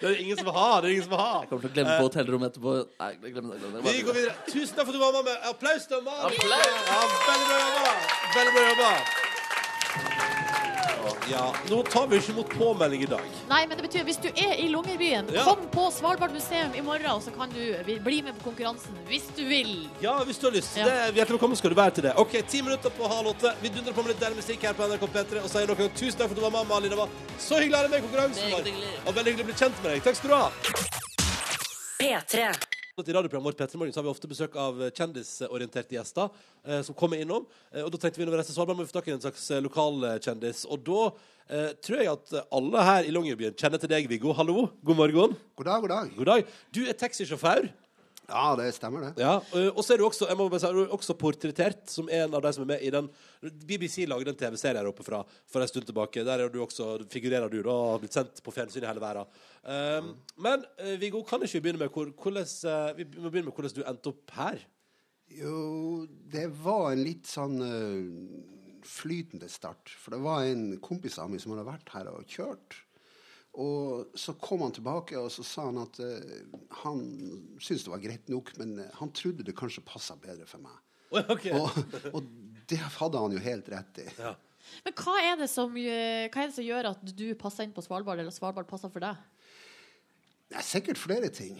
[SPEAKER 3] Det er det ingen som har. Det er ingen som har.
[SPEAKER 5] Kommer til å glemme på hotellrommet etterpå. Nei, glem det. glem det.
[SPEAKER 3] Vi går videre. Tusen takk for at du var med. med. Applaus til Amalie.
[SPEAKER 5] Applaus.
[SPEAKER 3] Ja, veldig bra jobba. Veldig bra jobba. Ja, nå tar vi ikke imot påmelding i dag.
[SPEAKER 4] Nei, men det betyr hvis du er i Longyearbyen,
[SPEAKER 3] Ja.
[SPEAKER 4] kom på Svalbard museum i morgen, og så kan du eh, vi- bli med på konkurransen hvis du vil.
[SPEAKER 3] Ja, hvis du har lyst.
[SPEAKER 4] Ja.
[SPEAKER 3] Det er hjertelig velkommen skal du være til det. Ok, ti minutter på halv åtte. Vi dundrer på med litt deilig musikk her på NRK P3 og sier dere tusen takk for at du var med, Malin. Det var så hyggelig å ha deg med i konkurransen
[SPEAKER 5] Meget
[SPEAKER 3] vår.
[SPEAKER 5] hyggelig.
[SPEAKER 3] Og veldig hyggelig å bli kjent med deg. Takk skal du ha.
[SPEAKER 1] P3.
[SPEAKER 3] I radioprogrammet vårt Petter Morgen så har vi ofte besøk av eh, kjendisorienterte gjester eh, som kommer innom. Eh, og da tenkte vi når vi reiser til Svalbard, må vi få tak i en slags eh, lokal eh, kjendis. Og da eh, tror jeg at eh, alle her i Longyearbyen kjenner til deg, Viggo. Hallo, god morgen.
[SPEAKER 9] God dag, god dag.
[SPEAKER 3] God dag. Du er taxisjåfør.
[SPEAKER 9] Ja, det stemmer det.
[SPEAKER 3] Ja, eh, og så er du også, jeg må bare si, du er også portrettert som en av de som er med i den BBC lagde en TV-serie her oppe fra for en stund tilbake. Der er du også, figurerer du da, og har blitt sendt på fjernsyn i hele verden. Um, men eh, Viggo, kan ikke vi begynne med hvor, hvordan, eh, vi må begynne med hvordan du endte opp *laughs* her?
[SPEAKER 9] Jo, det var en litt sånn eh, flytende start. For det var en kompis av meg som hadde vært her og kjørt. Og så kom han tilbake, og så sa han at eh, han syntes det var greit nok, men eh, han trodde det kanskje passa bedre for meg. Og, og det hadde han jo helt rett i.
[SPEAKER 4] Men hva er, det som, gjø- hva er det som gjør at du passer inn på Svalbard, eller Svalbard passer for deg?
[SPEAKER 9] Det er sikkert flere ting.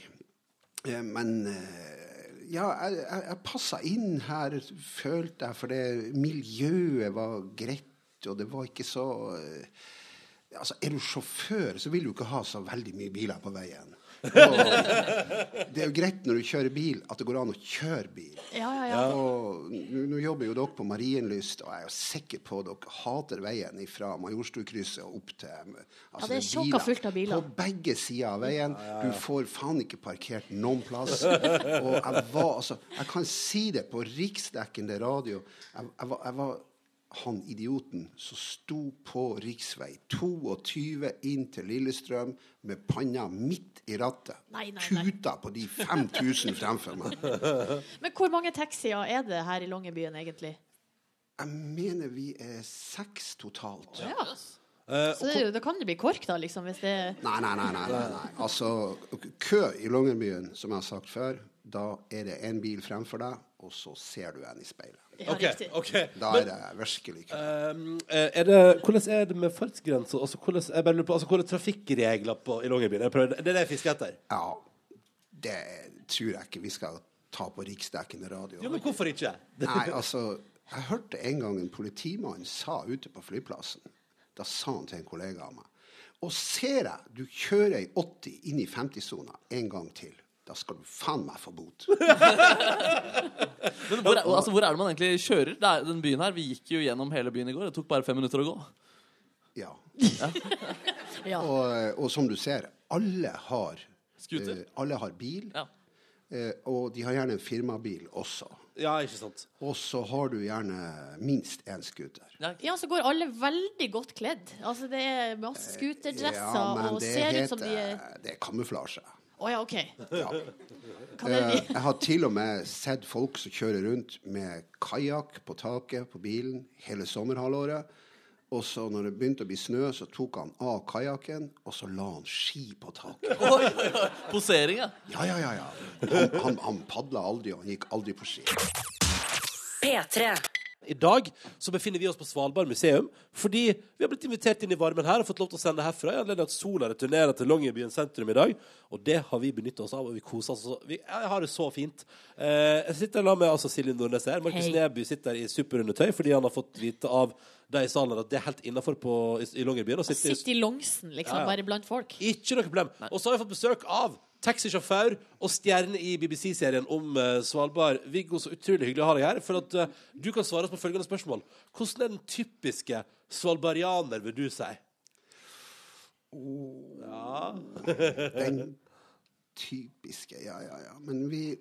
[SPEAKER 9] Eh, Men eh, ja, jeg, jeg, jeg passa inn her, følte jeg, for det miljøet var greit, og det var ikke så eh, Altså, er du sjåfør, så vil du ikke ha så veldig mye biler på veien. Og det er jo greit når du kjører bil, at det går an å kjøre bil.
[SPEAKER 4] Ja, ja, ja.
[SPEAKER 9] Og nå nå jobber jo dere på Marienlyst, og jeg er jo sikker på at dere hater veien fra Majorstukrysset og opp til altså,
[SPEAKER 4] det er
[SPEAKER 9] er
[SPEAKER 4] tjokka fullt av biler.
[SPEAKER 9] På begge sider av veien. Du får faen ikke parkert noen plass. og jeg var altså Jeg kan si det på riksdekkende radio. Jeg, jeg, var, jeg var han idioten som sto på rv. 22 inn til Lillestrøm med panna midt i rattet.
[SPEAKER 4] Nei, nei, nei.
[SPEAKER 9] Tuta på de 5000 fremfor meg.
[SPEAKER 4] Men hvor mange taxier er det her i Longyearbyen, egentlig?
[SPEAKER 9] Jeg mener vi er seks totalt.
[SPEAKER 4] Ja. Så det, er jo- da kan det bli KORK, da, liksom, hvis det
[SPEAKER 9] Nei, nei, nei, nei, nei, nei. Altså, kø i Longyearbyen, som jeg har sagt før, da er det en bil fremfor deg, og så ser du en i speilet.
[SPEAKER 4] Ja,
[SPEAKER 3] Ok,
[SPEAKER 4] riktig.
[SPEAKER 3] ok.
[SPEAKER 9] Da er det virkelig kø.
[SPEAKER 3] Um, eh, er det, hvordan er det med fartsgrenser? Altså, hvordan, jeg bare lurer på, altså, hvordan er trafikkregler på, i Longyearbyen? Jeg prøver- Det er det jeg fisker etter.
[SPEAKER 9] Ja, det tror jeg ikke vi skal ta på riksdekkende radio.
[SPEAKER 3] Jo, men hvorfor ikke?
[SPEAKER 9] Nei, altså, Jeg hørte en gang en politimann sa ute på flyplassen Da sa han til en kollega av meg Og ser jeg du kjører i 80 inn i 50-sona en gang til, da skal du faen meg få bot.
[SPEAKER 5] Men hvor, er- altså, hvor er det man egentlig kjører? Det er, den byen her, Vi gikk jo gjennom hele byen i går. Det tok bare fem minutter å gå.
[SPEAKER 9] Ja.
[SPEAKER 4] Ja.
[SPEAKER 9] Og, eh, og som du ser, alle har
[SPEAKER 5] Scooter?
[SPEAKER 9] eh, alle har bil,
[SPEAKER 5] Ja.
[SPEAKER 9] eh, og de har gjerne en firmabil også.
[SPEAKER 3] Ja, ikke sant?
[SPEAKER 9] Og så har du gjerne minst én scooter.
[SPEAKER 4] Ja, så går alle veldig godt kledd. Altså, det er masse scooterdresser og ser ut som de er
[SPEAKER 9] det er kamuflasje.
[SPEAKER 4] Å ja, OK.
[SPEAKER 9] Ja.
[SPEAKER 4] Hva er det
[SPEAKER 9] *laughs* Eh, Jeg har til og med sett folk som kjører rundt med kajakk på taket på bilen hele sommerhalvåret. Og så når det begynte å bli snø, så tok han av kajakken, og så la han ski på taket.
[SPEAKER 5] Oi, oi, oi. Posering, ja.
[SPEAKER 9] Ja, ja, ja, ja. Han, han, han padla aldri, og han gikk aldri på ski.
[SPEAKER 1] P3.
[SPEAKER 3] I dag så befinner vi oss på Svalbard museum fordi vi har blitt invitert inn i varmen her og fått lov til å sende herfra. i anledning at sola returnerer til Longyearbyen sentrum i dag, og det har vi benytta oss av. Og vi koser oss. så- Vi jeg har det så fint. Eh, jeg sitter sammen med altså, Silje Nordnes her. Markus
[SPEAKER 4] Hei.
[SPEAKER 3] Neby sitter i superundertøy fordi han har fått vite av de i salen her at det er helt innafor i, i Longyearbyen å sitte i
[SPEAKER 4] Sitter i longsen, liksom,
[SPEAKER 3] Ja, ja.
[SPEAKER 4] bare blant folk.
[SPEAKER 3] Ikke noe problem. Og så har vi fått besøk av taxisjåfør og stjerne i BBC-serien om eh, Svalbard. Viggo, så utrolig hyggelig å ha deg her. For at eh, du kan svare oss på følgende spørsmål. Hvordan er den typiske svalbardianer, vil du si?
[SPEAKER 9] Den typiske Ja, ja, ja. Men vi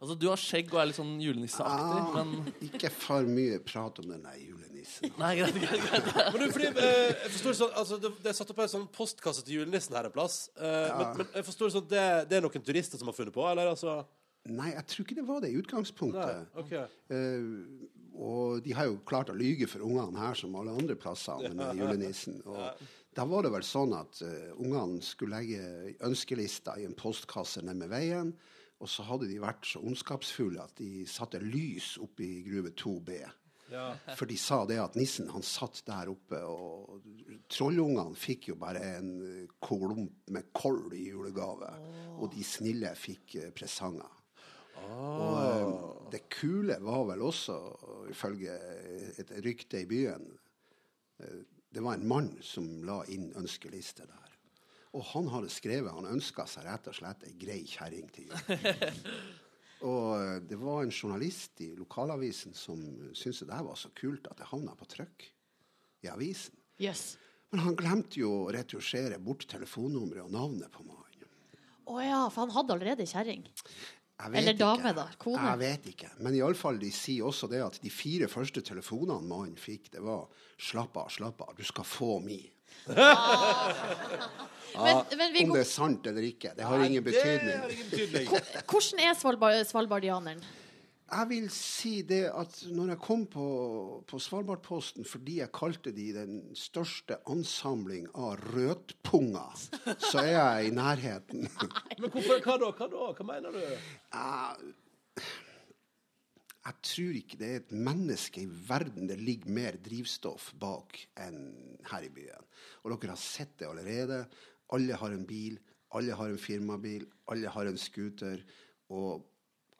[SPEAKER 5] Altså, Du har skjegg og er litt sånn julenisseaktig,
[SPEAKER 9] ah,
[SPEAKER 5] men
[SPEAKER 9] Ikke for mye prat om den der julenissen.
[SPEAKER 5] Nei, greit, greit, greit.
[SPEAKER 3] Men du, fordi, eh, jeg forstår det sånn, altså, det, det er satt opp en sånn postkasse til julenissen her en plass. Eh, men, men jeg forstår det sånn, det, det er noen turister som har funnet på, eller altså?
[SPEAKER 9] Nei, jeg tror ikke det var det i
[SPEAKER 3] Nei,
[SPEAKER 9] utgangspunktet.
[SPEAKER 3] ok.
[SPEAKER 9] Eh, og de har jo klart å lyge for ungene her som alle andre plasser om denne julenissen. Og da var det vel sånn at eh, ungene skulle legge ønskelista i en postkasse nede ved veien. Og så hadde de vært så ondskapsfulle at de satte lys oppe i gruve 2B. *laughs* For de sa det at nissen han satt der oppe, og trollungene fikk jo bare en eh, klump med kål i julegave. Og de snille fikk eh, presanger. Og eh, det kule var vel også, ifølge et rykte i byen eh, Det var en mann som la inn ønskeliste der. Og han hadde skrevet Han ønska seg rett og slett ei grei kjerring til jul. Og eh, det var en journalist i lokalavisen som syntes det der var så kult at det havna på trykk i avisen.
[SPEAKER 4] Jøss. Yes.
[SPEAKER 9] Men han glemte jo å retusjere bort telefonnummeret og navnet på mannen.
[SPEAKER 4] Å ja, for han hadde allerede kjerring.
[SPEAKER 9] Jeg vet
[SPEAKER 4] Eller dame,
[SPEAKER 9] ikke.
[SPEAKER 4] da. Kone.
[SPEAKER 9] Jeg vet ikke. Men iallfall, de sier også det at de fire første telefonene mannen fikk, det var 'slapp av, slapp av, du skal få mi'.
[SPEAKER 4] Men, men
[SPEAKER 9] Om
[SPEAKER 4] Viggo,
[SPEAKER 9] det er sant eller ikke, det har ingen
[SPEAKER 3] Det har
[SPEAKER 9] betydning.
[SPEAKER 3] ingen betydning.
[SPEAKER 4] hvordan er Svalbard, svalbardianeren?
[SPEAKER 9] Jeg vil si det at når jeg kom på, på Svalbardposten fordi jeg kalte de den største ansamling av rødpunger, så er jeg i nærheten. *laughs*
[SPEAKER 3] Men hvorfor, hva da? Hva da? Hva mener du?
[SPEAKER 9] Jeg, jeg tror ikke det er et menneske i verden det ligger mer drivstoff bak enn her i byen. Og dere har sett det allerede. Alle har en bil, alle har en firmabil, alle har en scooter. Og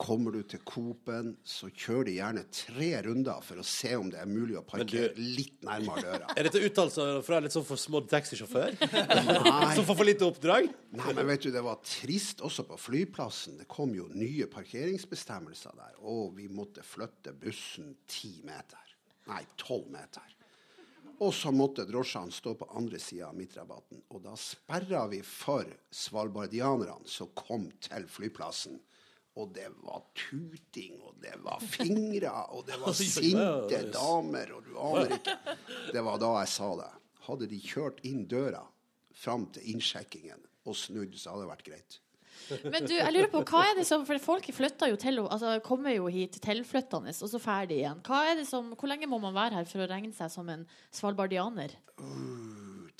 [SPEAKER 9] kommer du til Coop-en, så kjører de gjerne tre runder for å se om det er mulig å parkere litt nærmere døra.
[SPEAKER 3] Er dette uttalelser fra en litt sånn forsmådd taxisjåfør?
[SPEAKER 9] Nei.
[SPEAKER 3] Som får for lite oppdrag?
[SPEAKER 9] Nei, men vet du, Det var trist også på flyplassen. Det kom jo nye parkeringsbestemmelser der. Og vi måtte flytte bussen ti meter. Nei, tolv meter. Og så måtte drosjene stå på andre sida av midtrabatten. Og da sperra vi for svalbardianerne som kom til flyplassen. Og det var tuting, og det var fingre, og det var sinte damer, og du aner ikke. Det var da jeg sa det. Hadde de kjørt inn døra fram til innsjekkingen og snudd, så hadde det vært greit.
[SPEAKER 4] Men du, jeg lurer på, hva er det som For folk flytter jo til Altså kommer jo hit tilflyttende, og så ferdig igjen. Hva er det som, hvor lenge må man være her for å regne seg som en svalbardianer?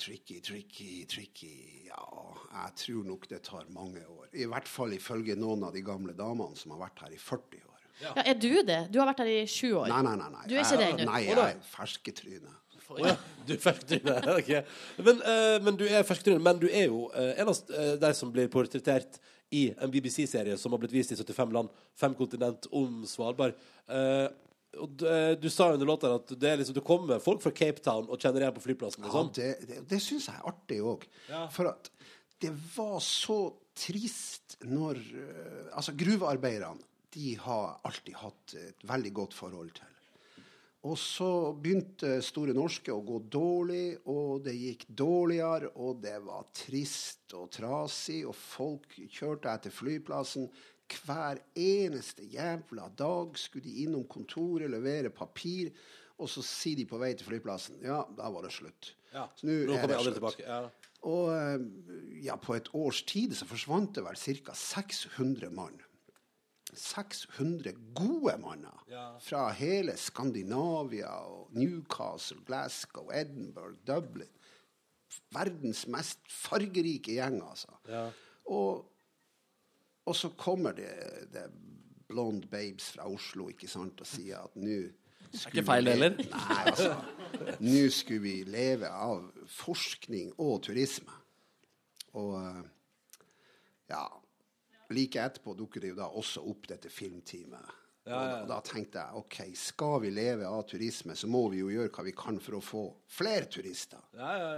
[SPEAKER 9] Tricky, tricky, tricky Ja, jeg tror nok det tar mange år. I hvert fall ifølge noen av de gamle damene som har vært her i 40 år.
[SPEAKER 4] Ja. er du det? Du har vært her i sju år.
[SPEAKER 9] Nei, nei, nei. nei.
[SPEAKER 4] Du er ikke det
[SPEAKER 9] Jeg-
[SPEAKER 4] ennå?
[SPEAKER 9] Nei, jeg er fersketryne.
[SPEAKER 3] Å ja. Du er fersketryne. ok. Men, eh, men du er fersketryne, men du er jo eh, en av eh, de som blir portrettert i en BBC-serie som har blitt vist i 75 land, fem kontinent, om Svalbard. Eh, og du, eh, du sa under låta at det er liksom, du kommer med folk fra Cape Town og kjenner igjen på flyplassen.
[SPEAKER 9] Ja,
[SPEAKER 3] Liksom.
[SPEAKER 9] det det, det syns jeg er artig òg. For at det var så trist når eh, Altså, gruvearbeiderne de har alltid hatt et veldig godt forhold til. Og så begynte Store norske å gå dårlig, og det gikk dårligere, og det var trist og trasig, og folk kjørte etter flyplassen. Hver eneste jævla dag skulle de innom kontoret, levere papir, og så sier de på vei til flyplassen Ja, da var det slutt. Så nå
[SPEAKER 3] Nå
[SPEAKER 9] er
[SPEAKER 3] kommer jeg
[SPEAKER 9] det
[SPEAKER 3] aldri
[SPEAKER 9] slutt.
[SPEAKER 3] tilbake. Ja.
[SPEAKER 9] Og eh, ja, på et års tid så forsvant det vel ca. 600 mann. 600 gode manner fra hele Skandinavia og Newcastle, Glasgow, Edinburgh, Dublin. Verdens mest fargerike gjeng, altså. Og, og så kommer det, det blonde babes fra Oslo ikke sant, og sier at nå skulle
[SPEAKER 5] ikke feil
[SPEAKER 9] vi-
[SPEAKER 5] heller.
[SPEAKER 9] Nei, altså. Nå skulle vi leve av forskning og turisme. Og eh, ja Like etterpå dukker det jo da også opp dette filmteamet. Og, da, og da tenkte jeg OK, skal vi leve av turisme, så må vi jo gjøre hva vi kan for å få flere turister.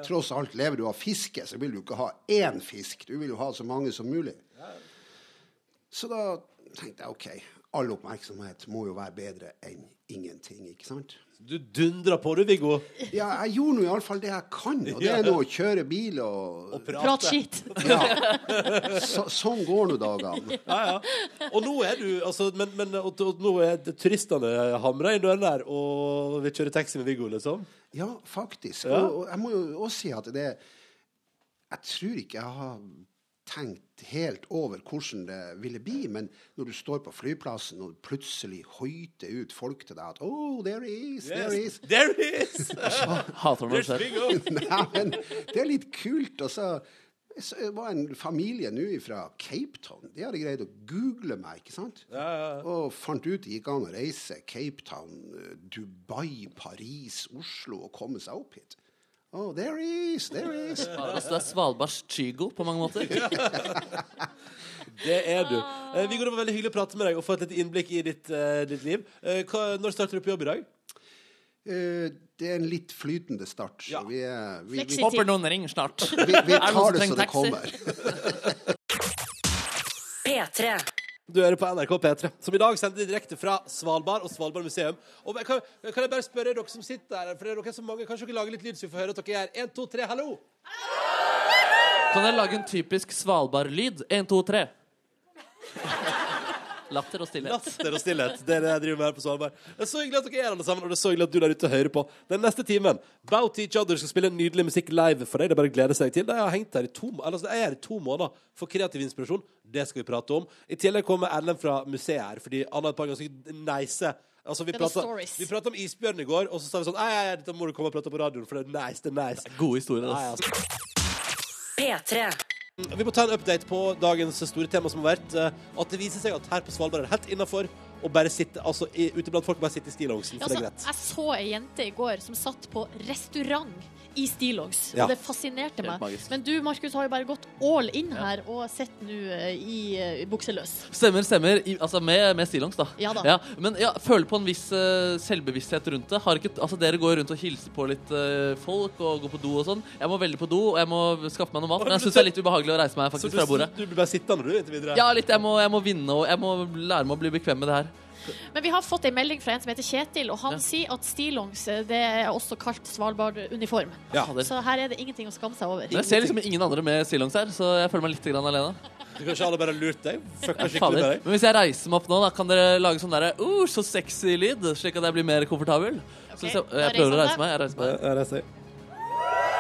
[SPEAKER 9] Tross alt, lever du av fiske, så vil du ikke ha én fisk. Du vil jo ha så mange som mulig. Så da tenkte jeg OK, all oppmerksomhet må jo være bedre enn ingenting, ikke sant?
[SPEAKER 3] Du dundra på, du, Viggo.
[SPEAKER 9] Ja, jeg gjorde nå iallfall det jeg kan, og det er nå å kjøre bil og,
[SPEAKER 4] Prat skitt.
[SPEAKER 9] Ja. Så, sånn går nå dagene.
[SPEAKER 3] Og nå er du altså, Men, men og, og, nå er det- turistene hamra i døren der, og vi kjører taxi med Viggo, liksom.
[SPEAKER 9] Ja, faktisk.
[SPEAKER 3] Ja.
[SPEAKER 9] Og, og jeg må jo også si at det Jeg tror ikke jeg har tenkt helt over hvordan det ville bli, men når du står på flyplassen og plutselig høyter ut folk til deg at Oh, there he is, there he is.
[SPEAKER 3] There he is!
[SPEAKER 9] *laughs*
[SPEAKER 5] Hater når det skjer.
[SPEAKER 3] Viggo!
[SPEAKER 9] Nei, men det er litt kult. Og så, så var en familie nå fra Cape Town. De hadde greid å google meg, ikke sant? Og fant ut det gikk an å reise Cape Town, eh, Dubai, Paris, Oslo og komme seg opp hit. Oh, there he is, there he
[SPEAKER 10] *laughs*
[SPEAKER 9] is.
[SPEAKER 5] Ja, altså, det er Svalbards Chigo på mange måter.
[SPEAKER 3] Det er du. Eh, Viggo, det var veldig hyggelig å prate med deg og få et lite innblikk i ditt, eh, ditt liv. Eh, hva, når starter du på jobb i dag?
[SPEAKER 9] Eh, det er en litt flytende start. Så
[SPEAKER 3] Ja.
[SPEAKER 9] vi, er, vi, vi,
[SPEAKER 4] Fleksitid.
[SPEAKER 5] noen ring snart.
[SPEAKER 9] vi, vi
[SPEAKER 5] Er det
[SPEAKER 9] tar
[SPEAKER 5] noen som
[SPEAKER 9] det så
[SPEAKER 5] trenger
[SPEAKER 9] det
[SPEAKER 5] taxi?
[SPEAKER 9] kommer.
[SPEAKER 1] P3.
[SPEAKER 3] Du hører på NRK P3, som i dag sender direkte fra Svalbard og Svalbard museum. Og kan, kan jeg bare spørre dere som sitter der, for det er dere så mange, kanskje dere lager litt lyd så vi får høre at dere er her. En, to, tre, hallo!
[SPEAKER 5] Kan jeg lage en typisk Svalbard-lyd? Én, to, tre. Latter og stillhet.
[SPEAKER 3] Latter og stillhet. Det er det jeg driver med her på Svalbard. Det er så hyggelig at dere er alle sammen, og det er så hyggelig at du der ute hører på. Den neste timen, Bout Each Other skal spille nydelig musikk live for deg. Det er bare å glede seg til. De har hengt her i to, må- eller, altså, jeg er her i to måneder for kreativ inspirasjon. Det skal vi prate om. I tillegg kommer Erlend fra museet her, fordi han har et par ganske nice Altså, vi
[SPEAKER 4] Det var
[SPEAKER 3] prata,
[SPEAKER 4] stories.
[SPEAKER 3] vi prata om isbjørn i går, og så sa vi sånn Nei, nei, nei, dette må du komme og prate på radioen, for det er nice. Det er nice.
[SPEAKER 5] Gode historier.
[SPEAKER 3] Nei,
[SPEAKER 5] ass.
[SPEAKER 3] altså.
[SPEAKER 1] P3.
[SPEAKER 3] Vi må ta en update på dagens store tema som har vært eh, at det viser seg at her på Svalbard er det helt innafor å bare sitte altså, i, ute blant folk bare sitte i stillongsen, for
[SPEAKER 4] Altså,
[SPEAKER 3] det er greit.
[SPEAKER 4] jeg så ei jente i går som satt på restaurant i stillongs,
[SPEAKER 3] Ja.
[SPEAKER 4] og det fascinerte meg.
[SPEAKER 5] magisk.
[SPEAKER 4] Men du, Markus, har jo bare gått all in her og sett nå eh, i eh, bukseløs.
[SPEAKER 5] Stemmer, stemmer. I, altså med, med stillongs, da.
[SPEAKER 4] Ja da.
[SPEAKER 5] men ja, føler på en viss eh, selvbevissthet rundt det. Har ikke, altså Dere går rundt og hilser på litt eh, folk og går på do og sånn. Jeg må veldig på do, og jeg må skaffe meg noe mat. Men jeg syns det er litt ubehagelig å reise meg
[SPEAKER 3] Så
[SPEAKER 5] faktisk
[SPEAKER 3] du,
[SPEAKER 5] fra bordet.
[SPEAKER 3] du blir bare sittende, du, inntil videre?
[SPEAKER 5] Ja, litt. Jeg må, jeg må vinne, og jeg må lære meg å bli bekvem med det her.
[SPEAKER 4] Men vi har fått en melding fra en som heter Kjetil, og han
[SPEAKER 5] Ja.
[SPEAKER 4] sier at stillongs eh, det er også kalt Svalbard-uniform.
[SPEAKER 3] Ja.
[SPEAKER 5] Fader.
[SPEAKER 4] Så her er det ingenting å skamme seg over.
[SPEAKER 5] Men jeg ser liksom ingen andre med stillongs her, så jeg føler meg litt grann alene.
[SPEAKER 3] Du kanskje alle bare har lurt deg? Fucka
[SPEAKER 5] Ja,
[SPEAKER 3] skikkelig
[SPEAKER 5] fader.
[SPEAKER 3] med deg?
[SPEAKER 5] Men hvis jeg reiser meg opp nå, da kan dere lage sånn derre uh, så sexy lyd, slik at jeg blir mer komfortabel. Så hvis jeg,
[SPEAKER 4] da
[SPEAKER 5] jeg prøver å
[SPEAKER 4] reiser han
[SPEAKER 5] reise meg. Jeg reiser meg.
[SPEAKER 3] Ja, det sier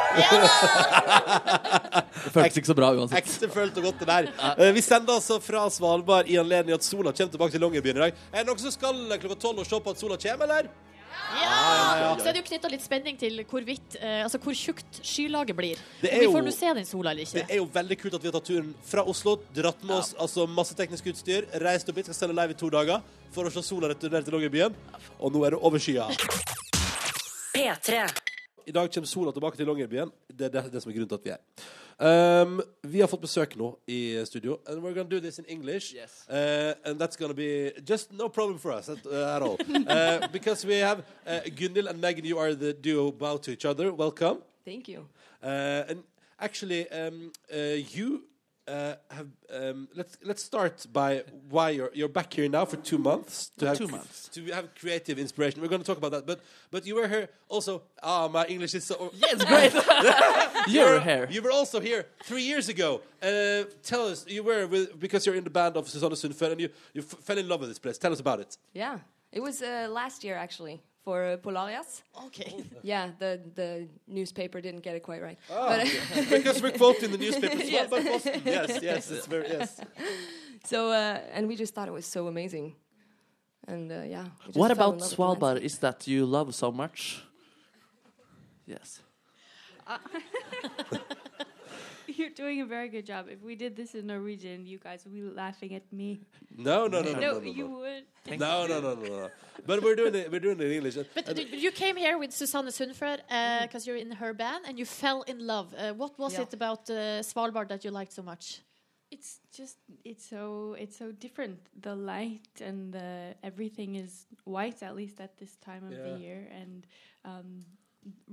[SPEAKER 5] Det føltes ikke så bra uansett.
[SPEAKER 3] Ekte følt og godt det der. Eh, Vi sender altså fra Svalbard i anledning at sola kommer tilbake til Longyearbyen i dag. Er det noen som skal klokka tolv og se på at sola kommer, eller?
[SPEAKER 4] Ja! Så er det jo knytta litt spenning til hvorvidt, eh, altså hvor tjukt skylaget blir.
[SPEAKER 3] Det
[SPEAKER 4] Om
[SPEAKER 3] er
[SPEAKER 4] vi
[SPEAKER 3] jo-
[SPEAKER 4] får nå se den sola eller
[SPEAKER 3] Det
[SPEAKER 4] ikke.
[SPEAKER 3] er jo veldig kult at vi har tatt turen fra Oslo, dratt med oss altså masse teknisk utstyr, reist opp hit, skal sende live i to dager for å se sola returnere til Longyearbyen. Og nå er det over skya.
[SPEAKER 1] P3.
[SPEAKER 3] I dag kommer sola tilbake til Longyearbyen. Det er det, det som er grunnen til at vi er her. Um, vi har fått besøk nå i studio. And we're gonna do this in English.
[SPEAKER 5] Yes.
[SPEAKER 3] Uh, and that's gonna be just no problem for us at, uh, at all.
[SPEAKER 5] *laughs*
[SPEAKER 3] Uh, because we have uh, Gunhild and Megan, you are the duo bow to each other. Welcome.
[SPEAKER 11] Thank you.
[SPEAKER 3] Uh, and actually, um, uh, you uh, have. Um, let's let's start by why you're you're back here now for two months to have
[SPEAKER 5] two
[SPEAKER 3] cr-
[SPEAKER 5] months.
[SPEAKER 3] to have creative inspiration. We're going to talk about that, but but you were here also. Ah, my English is so.
[SPEAKER 5] Yeah, it's great. You're here.
[SPEAKER 3] You were also here three years ago. Uh, tell us, you were with, because you're in the band of Susanna Sundfeld, and you you f- fell in love with this place. Tell us about
[SPEAKER 8] *laughs*
[SPEAKER 3] it.
[SPEAKER 11] Yeah, it was uh, last year actually for uh, Polarias.
[SPEAKER 4] OK.
[SPEAKER 11] Yeah, the the newspaper didn't get it quite right.
[SPEAKER 3] because we're quoting the
[SPEAKER 8] *laughs*
[SPEAKER 3] newspapers.
[SPEAKER 11] Yes.
[SPEAKER 3] Well, but Boston, yes, yes, it's very yes.
[SPEAKER 11] So uh, and we just thought it was so amazing, and uh, yeah. we just
[SPEAKER 5] What
[SPEAKER 11] fell in love
[SPEAKER 5] about
[SPEAKER 11] with the landscape.
[SPEAKER 5] Svalbard is that you love so much? Yes.
[SPEAKER 8] You're doing a very good job. If we did this in Norwegian, you guys would be laughing at me.
[SPEAKER 3] No, no, no, no, no, no,
[SPEAKER 8] No,
[SPEAKER 3] no.
[SPEAKER 8] you would.
[SPEAKER 3] No, no, no, no, no. But we're doing it. We're doing it in English.
[SPEAKER 4] But you- you came here with Susanne Sundfør
[SPEAKER 11] Mm.
[SPEAKER 4] because you're in her band and you fell in love. Uh, what was
[SPEAKER 11] Yeah.
[SPEAKER 4] it about uh, Svalbard that you liked so much?
[SPEAKER 8] It's just it's so it's so different. The light and the everything is white at least at this time of
[SPEAKER 3] Yeah.
[SPEAKER 8] the year, and um,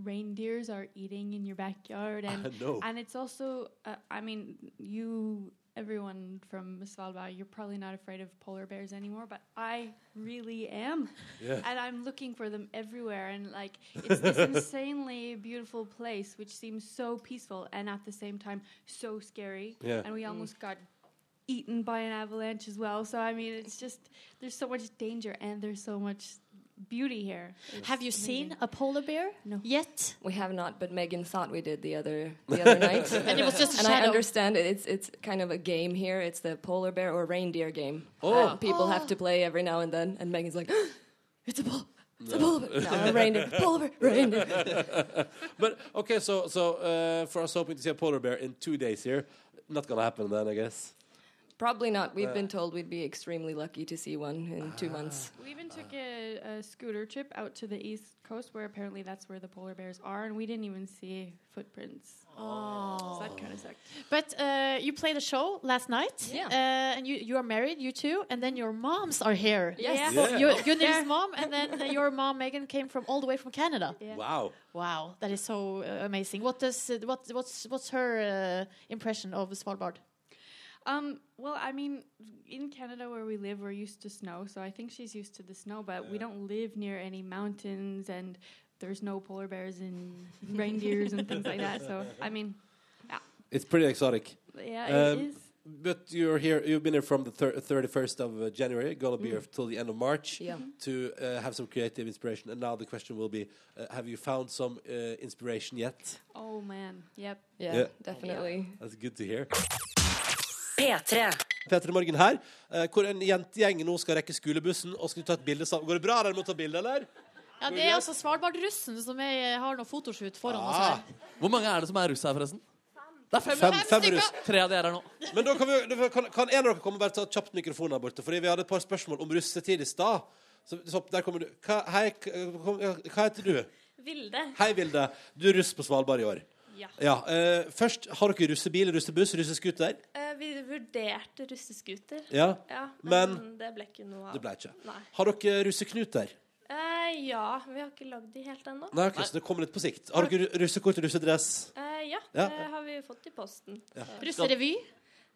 [SPEAKER 8] reindeers are eating in your backyard,
[SPEAKER 3] *laughs*
[SPEAKER 8] and
[SPEAKER 3] no.
[SPEAKER 8] and it's also uh, I mean you everyone from Svalbard you're probably not afraid of polar bears anymore, but I really am,
[SPEAKER 3] Yeah.
[SPEAKER 8] and I'm looking for them everywhere, and like it's
[SPEAKER 3] *laughs*
[SPEAKER 8] this insanely beautiful place which seems so peaceful and at the same time so scary,
[SPEAKER 3] Yeah.
[SPEAKER 8] and we almost got eaten by an avalanche as well. So I mean, it's just there's so much danger and there's so much beauty here.
[SPEAKER 4] Have you seen
[SPEAKER 11] Mm.
[SPEAKER 4] a polar bear
[SPEAKER 8] No.
[SPEAKER 4] yet?
[SPEAKER 11] We have not, but Megan thought we did the other
[SPEAKER 4] *laughs*
[SPEAKER 11] the other night.
[SPEAKER 4] And it was just a
[SPEAKER 11] And I
[SPEAKER 4] shadow.
[SPEAKER 11] understand it. it's it's kind of a game here. It's the polar bear or reindeer game. that people have to play every now and then. And Megan's like, *gasps* "It's a pol, it's a polar bear, no, a reindeer, polar bear, reindeer."
[SPEAKER 3] But okay, so so uh, for us hoping to see a polar bear in two days here, not gonna happen then, I guess.
[SPEAKER 11] Probably not.
[SPEAKER 10] Uh,
[SPEAKER 11] We've been told we'd be extremely lucky to see one in two months.
[SPEAKER 8] We even took a, a scooter trip out to the east coast, where apparently that's where the polar bears are, and we didn't even see footprints. Oh, so that kind of sucked.
[SPEAKER 4] But uh, you played a show last night,
[SPEAKER 11] Yeah.
[SPEAKER 4] uh, and you, you are married, you two, and then your moms are here.
[SPEAKER 11] Yes.
[SPEAKER 4] Well, your Gunnil's mom, and then uh, your mom Megan came from all the way from Canada.
[SPEAKER 8] Yeah.
[SPEAKER 3] Wow.
[SPEAKER 4] Wow, that is so uh, amazing. What does uh, what what's what's her uh, impression of Svalbard?
[SPEAKER 8] Um, well, I mean, in Canada where we live, we're used to snow, so I think she's used to the snow, but we don't live near any mountains and there's no polar bears and reindeers and things like that. So, I mean,
[SPEAKER 3] It's pretty exotic.
[SPEAKER 8] yeah,
[SPEAKER 3] Um,
[SPEAKER 8] it is.
[SPEAKER 3] But you're here. You've been here from the thirty first of uh, January. Gonna be here till the end of March
[SPEAKER 11] Yeah.
[SPEAKER 3] to uh, have some creative inspiration. And now the question will be: uh, Have you found some uh, inspiration yet?
[SPEAKER 8] Oh man, yep.
[SPEAKER 11] Yeah,
[SPEAKER 3] Yeah.
[SPEAKER 11] definitely.
[SPEAKER 3] That's good to hear.
[SPEAKER 1] P3.
[SPEAKER 3] Peter Morgen her, eh, hvor en jentegjeng nå skal rekke skolebussen og skal ta et bilde sammen. Går det bra der med å ta bilde, eller?
[SPEAKER 4] Ja, Det er altså Svalbard-russen som er, uh, har noe fotoshoot foran oss her.
[SPEAKER 5] Hvor mange er det som er russ her, forresten? Det er fem,
[SPEAKER 3] Fem,
[SPEAKER 5] ja.
[SPEAKER 3] fem russ.
[SPEAKER 5] Tre av de er her nå.
[SPEAKER 3] Men da kan, vi, da kan, kan en av dere komme og bare ta kjapt mikrofonen her borte? Fordi vi hadde et par spørsmål om russetid i stad. Så, så der kommer du. Hva, hei, k- kom, ja, hva heter du?
[SPEAKER 8] Vilde.
[SPEAKER 3] Hei, Vilde. Du er russ på Svalbard i år.
[SPEAKER 8] Ja.
[SPEAKER 3] eh, først, har dere russebil, russebuss, russeskuter?
[SPEAKER 8] Uh, vi vurderte russeskuter,
[SPEAKER 3] Ja. men
[SPEAKER 8] det ble ikke noe Eh,
[SPEAKER 3] det ble ikke. Har dere russeknuter?
[SPEAKER 8] ja, vi har ikke lagd de helt ennå.
[SPEAKER 3] Nei, ok, så det kommer litt på sikt. Har dere ru- russekort og russedress?
[SPEAKER 8] Eh, ja,
[SPEAKER 3] Ja. det
[SPEAKER 8] har vi fått i posten.
[SPEAKER 4] Russerevy,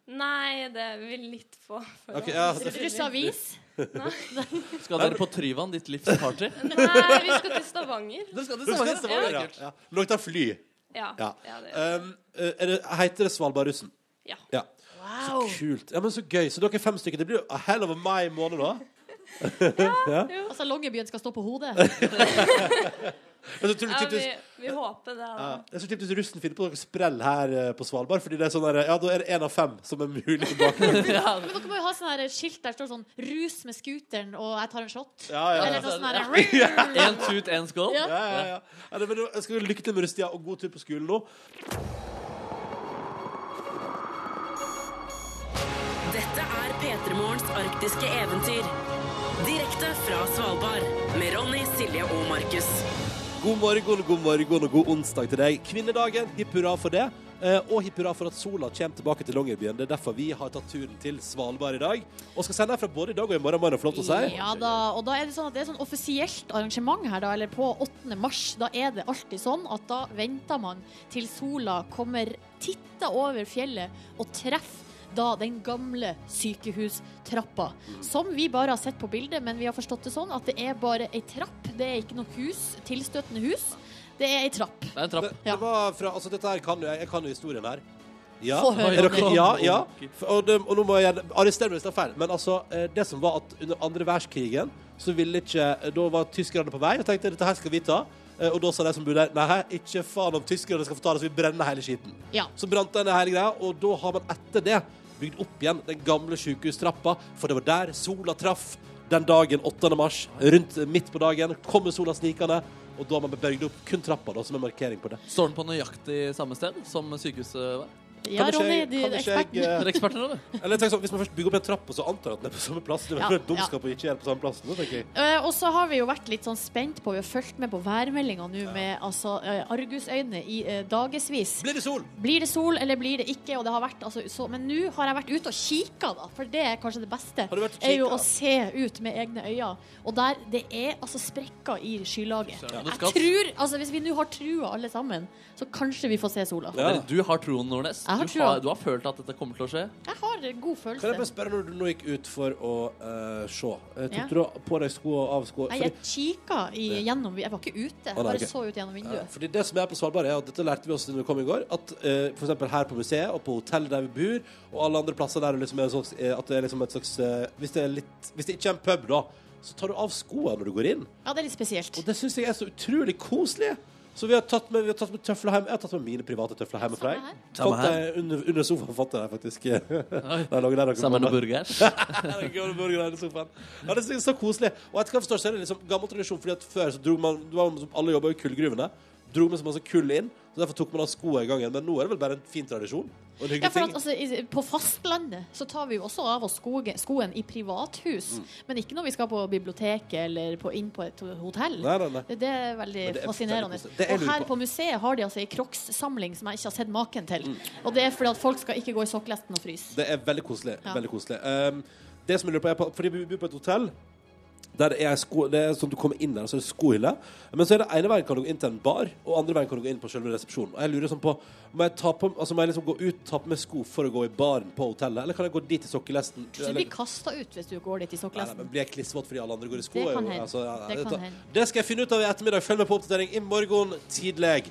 [SPEAKER 8] Nei, det vil litt få.
[SPEAKER 3] Ok, ja, det,
[SPEAKER 4] russeavis.
[SPEAKER 5] Skal dere på Tryvann, ditt livs
[SPEAKER 4] *laughs*
[SPEAKER 5] party?
[SPEAKER 8] Nei, vi skal til
[SPEAKER 3] *laughs*
[SPEAKER 8] Stavanger.
[SPEAKER 3] det skal det skal- det skal- ja. ja. Lukter fly. Ja. Um, eh, er det, heter det Svalbardrussen?
[SPEAKER 8] Ja.
[SPEAKER 3] ja.
[SPEAKER 4] Wow.
[SPEAKER 3] Kult. Ja, men Så gøy. Så dere er fem stykker. Det blir jo a hell of a mai måned, da.
[SPEAKER 4] Altså, Longyearbyen skal stå på hodet.
[SPEAKER 3] Jeg så tror du typisk,
[SPEAKER 8] vi håper det.
[SPEAKER 3] ja, jeg tror typisk russen finner på noe sprell her eh, på Svalbard. Fordi det er sånn der, ja, da er det én av fem som er mulig tilbake.
[SPEAKER 4] Men dere må jo ha sånn her skilt der det står sånn 'Rus med scooteren, og jeg tar en shot'.
[SPEAKER 3] Ja, ja,
[SPEAKER 4] Eller
[SPEAKER 3] ja.
[SPEAKER 4] noe sånn her
[SPEAKER 5] Én tut, én skål.
[SPEAKER 4] Ja.
[SPEAKER 3] Ja, ja, ja. ja det, men du, jeg skal jo lykke til med russetida, og god tur på skolen nå.
[SPEAKER 1] Dette er P3morgens arktiske eventyr. Direkte fra Svalbard med Ronny, Silje og Markus.
[SPEAKER 3] God morgen, god morgen og god onsdag til deg. Kvinnedagen, hipp hurra for det. eh, Og hipp hurra for at sola kommer tilbake til Longyearbyen. Det er derfor vi har tatt turen til Svalbard i dag. Og skal sende herfra både i dag og i morgen, morgen, flott å si.
[SPEAKER 4] Ja da, og da er det sånn at det er sånn offisielt arrangement her, da, eller på 8. mars. Da er det alltid sånn at da venter man til sola kommer, titter over fjellet og treffer da den gamle sykehustrappa.
[SPEAKER 3] Mm.
[SPEAKER 4] Som vi bare har sett på bildet, men vi har forstått det sånn at det er bare ei trapp. Det er ikke noe hus, tilstøtende hus. Det er ei trapp.
[SPEAKER 5] Det er en
[SPEAKER 3] Det,
[SPEAKER 5] trapp.
[SPEAKER 3] det var fra, altså dette her kan jo, jeg, jeg kan jo historien her. Ja,
[SPEAKER 4] Få høre,
[SPEAKER 3] er dere,
[SPEAKER 4] Ronny.
[SPEAKER 3] ja, ja. For- Og, det, og nå må jeg gjerne- arrestere meg hvis det er feil, men altså, eh, det som var at under andre verdenskrigen, så ville ikke, eh, da var tyskerne på vei, og tenkte, dette her skal vi ta. Eh, Og da sa de som bodde der, nei, ikke faen om tyskerne skal få ta det, så vi brenner hele skiten.
[SPEAKER 4] Ja.
[SPEAKER 3] Så brant denne hele greia, og da har man etter det bygd opp igjen den gamle sykehustrappa, for det var der sola traff den dagen 8. mars, rundt midt på dagen, kommer sola snikende, og da har man bygd opp kun trappa da, som en markering på det.
[SPEAKER 5] Står den på nøyaktig samme sted som sykehuset var?
[SPEAKER 4] Ja,
[SPEAKER 3] ikke
[SPEAKER 4] Ronny,
[SPEAKER 3] jeg-
[SPEAKER 4] du
[SPEAKER 3] kan
[SPEAKER 4] er
[SPEAKER 3] ikke jeg,
[SPEAKER 4] eksperten.
[SPEAKER 5] Dere er eksperter nå, du.
[SPEAKER 3] *laughs* eh, Eller tenk sånn, Hvis man først bygger opp en trapp, og så antar jeg at den er på samme plass. Det er
[SPEAKER 4] Ja,
[SPEAKER 3] vel dumskap å ikke gjøre det på samme plass nå, tenker jeg.
[SPEAKER 4] Eh, og så har vi jo vært litt sånn spent på, vi har fulgt med på værmeldinga nå med altså, eh, argusøyne i uh, dagevis.
[SPEAKER 3] Blir det sol?
[SPEAKER 4] Blir det sol, eller blir det ikke? Og det har vært, altså, så, men nå har jeg vært ute og kikka, da, for det er kanskje det beste.
[SPEAKER 3] Har du vært og
[SPEAKER 4] er jo
[SPEAKER 3] kikket?
[SPEAKER 4] å se ut med egne øyne. Og der det er altså sprekker i skylaget.
[SPEAKER 5] Søren,
[SPEAKER 4] Jeg
[SPEAKER 5] du skal-
[SPEAKER 4] tror, altså Hvis vi nå har trua alle sammen, så kanskje vi får se sola.
[SPEAKER 3] Ja.
[SPEAKER 5] Dere, Du har troen, Nordnes.
[SPEAKER 4] Jeg har
[SPEAKER 5] Du har,
[SPEAKER 4] troen.
[SPEAKER 5] du har følt at dette kommer til å skje.
[SPEAKER 4] Jeg har god
[SPEAKER 3] Kan jeg bare
[SPEAKER 4] følelse.
[SPEAKER 3] spørre når du nå gikk ut for å eh, se? Eh, tok
[SPEAKER 4] Ja.
[SPEAKER 3] du da på deg sko og av sko?
[SPEAKER 4] Nei, jeg kikka i, gjennom Jeg var ikke ute, jeg
[SPEAKER 3] nei,
[SPEAKER 4] bare
[SPEAKER 3] ok.
[SPEAKER 4] så ut gjennom vinduet.
[SPEAKER 3] Fordi det som er på Svalbard er at Dette lærte vi oss når vi kom i går At eh, for eksempel her på museet Og på hotell der vi bor Og alle andre plasser der det liksom er en slags, eh, At det er liksom et slags eh, hvis, det er litt, hvis det ikke er en pub da Så tar du av skoene når du går inn
[SPEAKER 4] Ja, det er litt spesielt.
[SPEAKER 3] Og det synes jeg er så utrolig koselig så vi har tatt med, vi har tatt med tøfler hjem Jeg har tatt med mine private tøfler hjemmefra
[SPEAKER 4] Samme
[SPEAKER 3] jeg.
[SPEAKER 4] her.
[SPEAKER 3] Fant jeg eh, under, under sofaen fant jeg deg faktisk *laughs* Der lå der dere
[SPEAKER 5] Sammen
[SPEAKER 3] kom.
[SPEAKER 5] med burgers.
[SPEAKER 3] Gamle burgere i sofaen. Ja, det synes jeg er så koselig. Og jeg kan forstå, så er det liksom gammel tradisjon, fordi at før så dro man, det var som alle jobbet i kullgruvene, dro man så masse kull inn, så derfor tok man av skoene i gangen. Men nå er det vel bare en fin tradisjon, og en
[SPEAKER 4] Ja,
[SPEAKER 3] hyggelig
[SPEAKER 4] for at,
[SPEAKER 3] ting.
[SPEAKER 4] altså, i- På fastlandet så tar vi jo også av oss skoge, skoen i privathus,
[SPEAKER 3] Mm.
[SPEAKER 4] men ikke når vi skal på biblioteket eller på, inn på et hotell.
[SPEAKER 3] Nei, nei, nei.
[SPEAKER 4] Det, det er veldig
[SPEAKER 3] det er
[SPEAKER 4] fascinerende.
[SPEAKER 3] veldig koselig. Det er
[SPEAKER 4] og
[SPEAKER 3] lurt
[SPEAKER 4] her
[SPEAKER 3] på.
[SPEAKER 4] på museet har de altså ei Crocs-samling som jeg ikke har sett maken til.
[SPEAKER 3] Mm.
[SPEAKER 4] Og det er fordi at folk skal ikke gå i sokkelesten og fryse.
[SPEAKER 3] Det er veldig koselig.
[SPEAKER 4] Ja.
[SPEAKER 3] Veldig koselig. Um, det som jeg lurer på er på, Fordi vi bor på et hotell der det er sko, det er sånn du kommer inn der, og så er det skohylle. Men så er det ene veien kan du gå inn til en bar, og andre veien kan du gå inn på selve resepsjonen. Og jeg lurer sånn på Må jeg, ta på, altså må jeg liksom gå ut ta på meg sko for å gå i baren på hotellet, eller kan jeg gå dit i sokkelesten?
[SPEAKER 4] Så du
[SPEAKER 3] Eller-
[SPEAKER 4] blir kasta ut hvis du går
[SPEAKER 3] Nei, nei,
[SPEAKER 4] dit i
[SPEAKER 3] men
[SPEAKER 4] sokkelesten.
[SPEAKER 3] blir jeg klissvåt fordi alle andre går i sko?
[SPEAKER 4] Det
[SPEAKER 3] er
[SPEAKER 4] kan
[SPEAKER 3] jo-
[SPEAKER 4] hende.
[SPEAKER 3] altså, ja,
[SPEAKER 4] Det
[SPEAKER 3] det,
[SPEAKER 4] kan
[SPEAKER 3] tar-
[SPEAKER 4] hende.
[SPEAKER 3] det skal jeg finne ut av i ettermiddag. Følg med på oppdatering i morgen tidlig.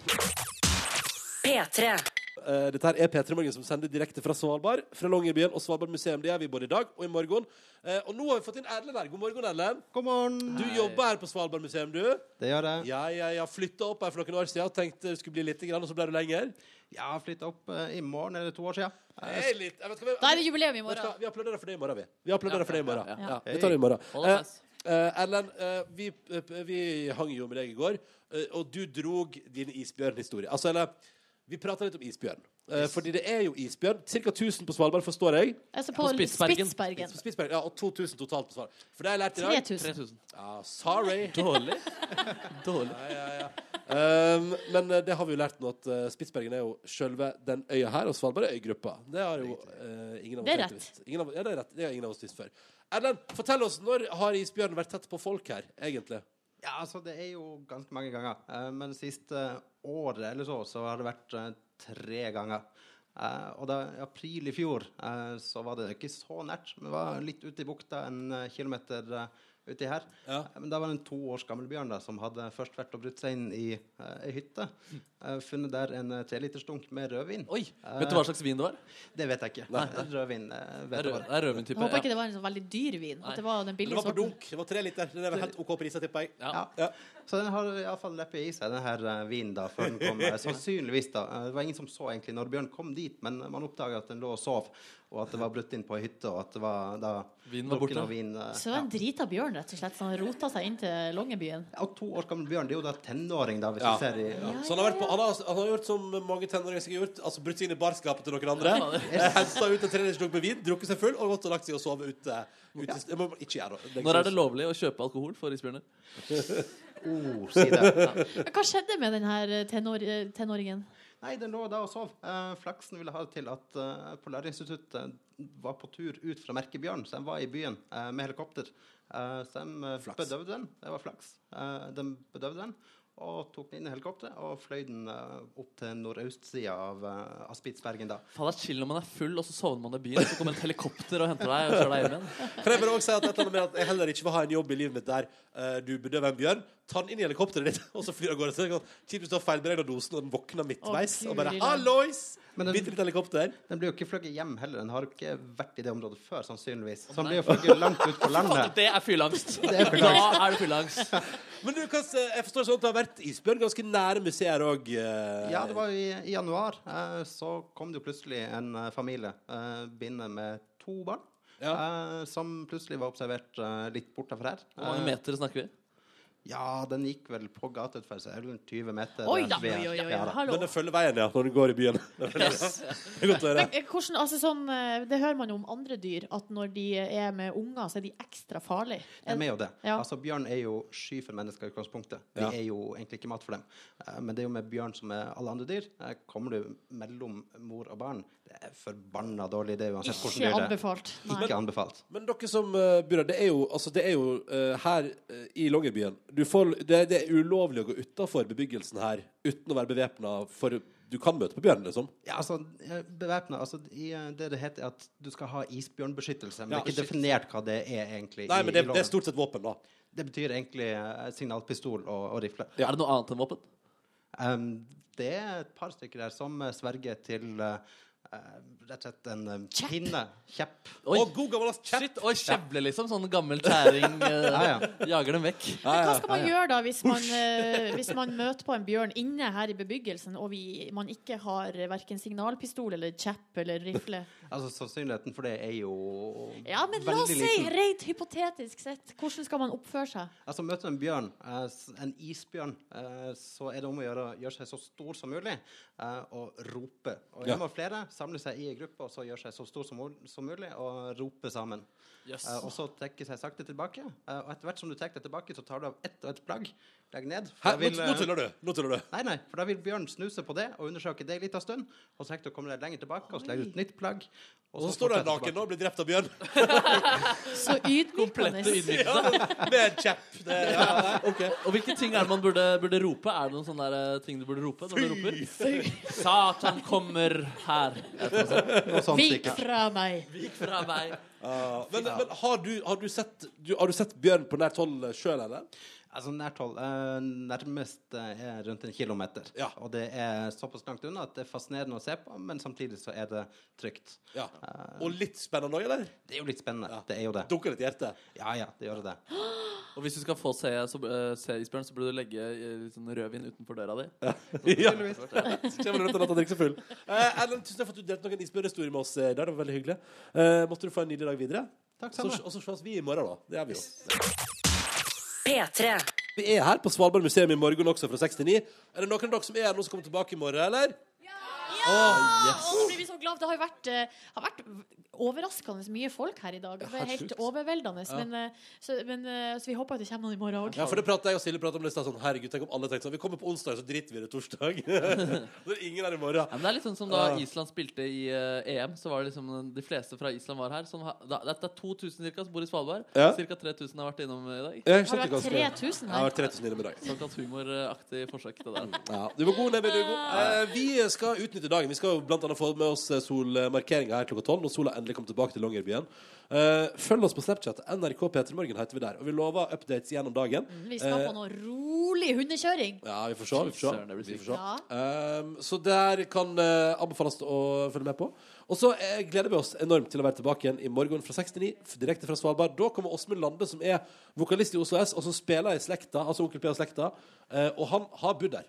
[SPEAKER 1] P3.
[SPEAKER 3] Eh, dette her er P3 Morgen som sender direkte fra Svalbard, fra Longyearbyen og Svalbard museum. Det er vi både i dag og i morgen. Eh, og nå har vi fått inn Erlend her. God morgen, Erlend.
[SPEAKER 10] God morgen.
[SPEAKER 3] Du jobber her på Svalbard museum, du.
[SPEAKER 10] Det gjør jeg.
[SPEAKER 3] Ja, ja, ja. Flytta opp her for noen år siden. Tenkte det skulle bli lite grann, og så ble du lenger.
[SPEAKER 10] *laughs* Jeg har flytta opp eh, i morgen, eller to år sia.
[SPEAKER 3] Hei, litt. Jeg vet ikke hva
[SPEAKER 4] Da er det jubileum i
[SPEAKER 3] Vet du hva?
[SPEAKER 4] morgen.
[SPEAKER 3] Vi applauderer for det i morgen, vi. Vi applauderer for det i morgen. Ja,
[SPEAKER 5] ja,
[SPEAKER 3] Vi tar det i morgen.
[SPEAKER 5] Hold on, guys.
[SPEAKER 3] Eh, eh, Erlend, eh, vi, eh, vi hang jo med deg i går, eh, og du drog din isbjørnhistorie. Altså, eller Vi prata litt om isbjørn. Eh, Fordi det er jo isbjørn. Ca. 1000 på Svalbard, forstår jeg.
[SPEAKER 4] Altså på,
[SPEAKER 5] På Spitsbergen.
[SPEAKER 4] Spitsbergen.
[SPEAKER 3] På Spitsbergen, ja, Og 2000 totalt på Svalbard. For det har jeg lært i dag.
[SPEAKER 4] 3000.
[SPEAKER 5] 3000.
[SPEAKER 3] Ja, sorry.
[SPEAKER 5] Dårlig. Dårlig.
[SPEAKER 3] Um, men eh, det har vi jo lært nå, at eh, Spitsbergen er jo sjølve den øya her, og Svalbard er øygruppa. Det har jo eh, ingen av oss
[SPEAKER 4] Det
[SPEAKER 3] egentlig
[SPEAKER 4] er rett.
[SPEAKER 3] visst. Ingen av, ja, det er rett. Det har ingen av oss visst før. Erlend, fortell oss, når har isbjørnen vært tett på folk her, egentlig?
[SPEAKER 10] Ja, altså, det er jo ganske mange ganger. Eh, men siste året eller så, så har altså, det vært eh, tre ganger. Eh, og da, i april i fjor eh, så var det ikke så nært, men det var litt ute i bukta, en eh, kilometer eh, uti her.
[SPEAKER 3] Ja.
[SPEAKER 10] Eh, Men da var det en to års gammel bjørn da, som hadde først vært og brutt seg inn i eh, ei hytte. Eh, funnet der en eh, trelitersdunk med rødvin.
[SPEAKER 5] Oi, vet du hva slags vin det var?
[SPEAKER 10] Det vet jeg ikke. *laughs* Rødvin eh,
[SPEAKER 5] Det
[SPEAKER 10] vet jeg
[SPEAKER 5] er rød-
[SPEAKER 10] bare.
[SPEAKER 5] det er rødvin
[SPEAKER 4] Jeg
[SPEAKER 5] type.
[SPEAKER 4] håper
[SPEAKER 5] Ja.
[SPEAKER 4] ikke det var en sånn veldig dyr vin. At det var den
[SPEAKER 3] Det
[SPEAKER 4] billige
[SPEAKER 3] var på
[SPEAKER 4] sorten.
[SPEAKER 3] dunk. Det var tre liter. Det er vel helt OK priser, tipper jeg.
[SPEAKER 5] Ja.
[SPEAKER 10] Ja. Så den har iallfall leppet i seg, den her eh, vinen, da, før den kom. eh, Sannsynligvis, da. Eh, Det var ingen som så egentlig når bjørnen kom dit, men man oppdaga at den lå og sov, og at det var brutt inn på ei hytte, og at det var da
[SPEAKER 5] Vinen var borte.
[SPEAKER 10] drukken og Vin, eh,
[SPEAKER 4] Så det var en drita bjørn, rett og slett, som rota seg inn til Longyearbyen.
[SPEAKER 10] ja, og to år gammel bjørn, det er jo da tenåring, da, hvis
[SPEAKER 3] Ja.
[SPEAKER 10] du ser i ja.
[SPEAKER 3] Så han har, vært på, han, har, han har gjort som mange tenåringer har gjort, altså brutt seg inn i barskapet til noen andre. Henta ut en trelitersdunk med vin, drukket seg full og gått og lagt seg og sovet ute. ute. Det må man ikke gjøre.
[SPEAKER 5] Når er det lovlig å kjøpe alkohol for isbjørner?
[SPEAKER 10] ord si det.
[SPEAKER 4] Men hva skjedde med den her eh, tenår, tenåringen?
[SPEAKER 10] Nei, den lå da og sov. Eh, flaksen ville ha det til at eh, Polarinstituttet var på tur ut fra Merkebjørn, så de var i byen eh, med helikopter. Eh, så de eh, bedøvde den. Det var flaks. Eh, de bedøvde den og tok den inn i helikopteret og fløy den eh, opp til nordøstsida av, eh, av Spitsbergen. da.
[SPEAKER 5] Faen, det er chill når man er full, og så sovner man i byen, så kommer et helikopter og henter deg og kjører deg hjem igjen.
[SPEAKER 3] Kan jeg bare også si at, et eller annet med at jeg heller ikke vil ha en jobb i livet mitt der eh, du bedøver en bjørn, tar den inn i helikopteret ditt, *laughs* og så flyr av gårde. Så det er sånn, Typisk du har feilberegna dosen, og den våkner midtveis,
[SPEAKER 4] Å,
[SPEAKER 3] og bare
[SPEAKER 4] Guri land.
[SPEAKER 3] 'hallois'!
[SPEAKER 10] Men den-
[SPEAKER 3] Bitte litt helikopter.
[SPEAKER 10] Den blir jo ikke fløyet hjem heller. Den har jo ikke vært i det området før, sannsynligvis. Så den blir jo fløyet langt ut på
[SPEAKER 5] *laughs*
[SPEAKER 10] landet.
[SPEAKER 5] Det er fylleangst. Da
[SPEAKER 10] er fylleangst.
[SPEAKER 5] er det fylleangst.
[SPEAKER 3] Men du, hva, jeg forstår sånn at du har vært isbjørn ganske nære museer òg. eh,
[SPEAKER 10] Ja, det var jo i, i januar. Eh, så kom det jo plutselig en eh, familie eh, bindet med to barn. Eh, som plutselig var observert eh, litt bortafor her.
[SPEAKER 5] Hvor mange
[SPEAKER 10] Eh,
[SPEAKER 5] meter snakker vi?
[SPEAKER 10] ja, den gikk vel på gateutfor, så er det vel 20 meter.
[SPEAKER 4] Oi
[SPEAKER 10] eh,
[SPEAKER 4] da! Oi,
[SPEAKER 10] ved-
[SPEAKER 4] oi, oi,
[SPEAKER 10] Ja, da.
[SPEAKER 4] hallo.
[SPEAKER 3] Men den følger veien, ja, når den går i byen. *laughs* Det er godt å høre.
[SPEAKER 4] Men eh, hvordan, altså sånn, eh, det hører man jo om andre dyr, at når de eh, er med unger, så er de ekstra farlige.
[SPEAKER 10] De er jo det.
[SPEAKER 4] Ja.
[SPEAKER 10] Altså, bjørn er jo sky for mennesker i utgangspunktet. De er jo egentlig ikke mat for dem. Eh, Men det er jo med bjørn som med alle andre dyr. Eh, Kommer du mellom mor og barn, det er forbanna dårlig idé uansett hvordan
[SPEAKER 4] Ikke
[SPEAKER 10] dyr det er.
[SPEAKER 4] anbefalt. Nei.
[SPEAKER 10] Ikke anbefalt.
[SPEAKER 3] Men dere som eh, bor her, det er jo, altså, det er jo eh, her eh, i Longyearbyen du får, det, det er ulovlig å gå utafor bebyggelsen her uten å være bevæpna, for du kan møte på bjørn, liksom.
[SPEAKER 10] Ja, altså, bevæpna altså, i, eh, Det det heter, er at du skal ha isbjørnbeskyttelse.
[SPEAKER 3] Ja,
[SPEAKER 10] Men det er ikke
[SPEAKER 3] shit.
[SPEAKER 10] definert hva det er egentlig.
[SPEAKER 3] Nei,
[SPEAKER 10] i-
[SPEAKER 3] men det,
[SPEAKER 10] i
[SPEAKER 3] det
[SPEAKER 10] loven.
[SPEAKER 3] er stort sett våpen, da.
[SPEAKER 10] det betyr egentlig eh, signalpistol og, og rifle.
[SPEAKER 5] Er det noe annet enn våpen?
[SPEAKER 10] Em, det er et par stykker der som eh, sverger til eh, eh, rett og slett en eh, pinne. Kjepp.
[SPEAKER 5] Oi.
[SPEAKER 3] Og god gammel kjepp!
[SPEAKER 5] Shit, Oi, kjevle, liksom. Sånn gammel kjæring eh,
[SPEAKER 10] Ja, ja.
[SPEAKER 5] jager dem vekk.
[SPEAKER 4] Men hva skal man gjøre da hvis
[SPEAKER 10] *laughs*
[SPEAKER 4] man, eh, hvis man møter på en bjørn inne her i bebyggelsen, og vi, man ikke har verken signalpistol eller kjepp eller rifle?
[SPEAKER 10] Altså, sannsynligheten for det er jo
[SPEAKER 4] Ja, men la oss
[SPEAKER 10] veldig
[SPEAKER 4] si,
[SPEAKER 10] liten.
[SPEAKER 4] rent hypotetisk sett, hvordan skal man oppføre
[SPEAKER 10] *laughs*
[SPEAKER 4] seg?
[SPEAKER 10] Altså, Møter du en bjørn, eh, s- en isbjørn, eh, så er det om å gjøre å gjøre seg så stor som mulig eh, og rope. Og
[SPEAKER 3] Ja.
[SPEAKER 10] en av flere samler seg i en gruppe og så gjør seg så stor som, mul- som mulig og roper sammen.
[SPEAKER 5] Yes.
[SPEAKER 10] Eh, Og så trekker seg sakte tilbake. eh, Og etter hvert som du trekker deg tilbake, så tar du av ett og ett plagg. Legg ned. for
[SPEAKER 3] Hæ,
[SPEAKER 10] da
[SPEAKER 3] nå,
[SPEAKER 10] vil,
[SPEAKER 3] nå
[SPEAKER 10] eh,
[SPEAKER 3] tuller du! Nå tuller du.
[SPEAKER 10] Nei, nei, for da vil bjørnen snuse på det og undersøke det en liten stund. Og så trekker du kommer deg lenger tilbake, og så legger du et nytt plagg.
[SPEAKER 3] Og så står du her
[SPEAKER 10] fortsetter
[SPEAKER 3] naken og blir drept av
[SPEAKER 10] *laughs*
[SPEAKER 3] bjørn
[SPEAKER 4] Så ydmykende.
[SPEAKER 5] Komplette ydmykelse.
[SPEAKER 3] med en kjepp. Det, ja, nei, ok.
[SPEAKER 5] Og hvilke ting er det man burde, burde rope? Er det noen sånne der, eh, ting du burde rope? når du roper? Satan kommer her.
[SPEAKER 10] tilbake. Noe sånt
[SPEAKER 4] Vik
[SPEAKER 10] sikkert.
[SPEAKER 4] fra meg.
[SPEAKER 5] Vik fra meg.
[SPEAKER 3] Ja, men men har, du, har, du sett, du, har du sett bjørn på nært hold sjøl, eller?
[SPEAKER 10] Altså nært hold. eh, nærmest eh, er rundt en kilometer.
[SPEAKER 3] Ja.
[SPEAKER 10] Og det er såpass langt unna at det er fascinerende å se på, men samtidig så er det trygt.
[SPEAKER 3] Ja. Og litt spennende òg, eller?
[SPEAKER 10] Eh. Det er jo litt spennende. Det er jo det.
[SPEAKER 3] Dunker litt i
[SPEAKER 10] *laughs*
[SPEAKER 3] hjertet.
[SPEAKER 10] Ja ja, det gjør det.
[SPEAKER 5] Og hvis du skal få se, så, eh, se isbjørn, så burde du legge eh, litt sånn rødvin utenfor døra di.
[SPEAKER 3] *laughs* Ja. Så kommer du rundt og later drikke seg full. Eh, Erlend, tusen takk for at du delte noen isbjørnhistorier med oss i dag. Det var veldig hyggelig. Eh, måtte du få en nydelig dag videre.
[SPEAKER 10] Takk
[SPEAKER 3] Så,
[SPEAKER 10] samme.
[SPEAKER 3] og så ses vi i morgen, da. Det gjør vi jo.
[SPEAKER 1] P3.
[SPEAKER 3] Vi er her på Svalbard museum i morgen også, fra 6 til 9. Er det noen av dere som er her nå som kommer tilbake i morgen, eller?
[SPEAKER 4] Nå blir vi så glad. Det har jo vært, eh, har vært overraskende mye folk her i dag. Det er helt overveldende. Men, eh, så, men, eh, så vi håper at det kommer noen i morgen òg.
[SPEAKER 3] Ja, for det pratet jeg og Silje pratet om det i stad. Sånn, herregud, tenk om alle tenkte sånn Vi kommer på onsdag, så driter vi i det torsdag. *laughs* så er det ingen her i
[SPEAKER 5] Ja,
[SPEAKER 3] morgen.
[SPEAKER 5] men det er litt sånn som da Island spilte i eh, EM, så var det liksom eh, de fleste fra Island var her. Som, ha- da, det er 2000 cirka som bor i Svalbard.
[SPEAKER 3] Ja.
[SPEAKER 5] Cirka 3000 har vært innom eh, i dag.
[SPEAKER 3] Jeg
[SPEAKER 4] Har
[SPEAKER 3] skjønte
[SPEAKER 4] det vært
[SPEAKER 3] ganske Jeg
[SPEAKER 4] 3000
[SPEAKER 3] har
[SPEAKER 4] her?
[SPEAKER 3] vært 3000 innom i dag.
[SPEAKER 5] Såkalt humoraktig forsøk, det der.
[SPEAKER 3] Ja, du var god, Nebbe. Du var god. Eh, vi skal utnytte dagen. Vi skal jo blant annet få med oss solmarkeringa her klokka tolv, når sola endelig kommer tilbake til Longyearbyen. Eh, følg oss på Snapchat. NRK P3morgen heter vi der. Og vi lover updates gjennom dagen.
[SPEAKER 4] Mm, Vi skal på noe rolig hundekjøring.
[SPEAKER 3] Ja, vi får se. Vi får se.
[SPEAKER 5] Søren, det blir
[SPEAKER 3] Vi
[SPEAKER 5] sykt.
[SPEAKER 3] får se.
[SPEAKER 4] Ja.
[SPEAKER 3] Ehm, så der kan eh, anbefales å følge med på. Og så eh, gleder vi oss enormt til å være tilbake igjen i morgen fra 69, direkte fra Svalbard. Da kommer Åsmund Lande, som er vokalist i Oslo S, og som spiller i slekta, altså Onkel P og slekta. Eh, og han har bodd der.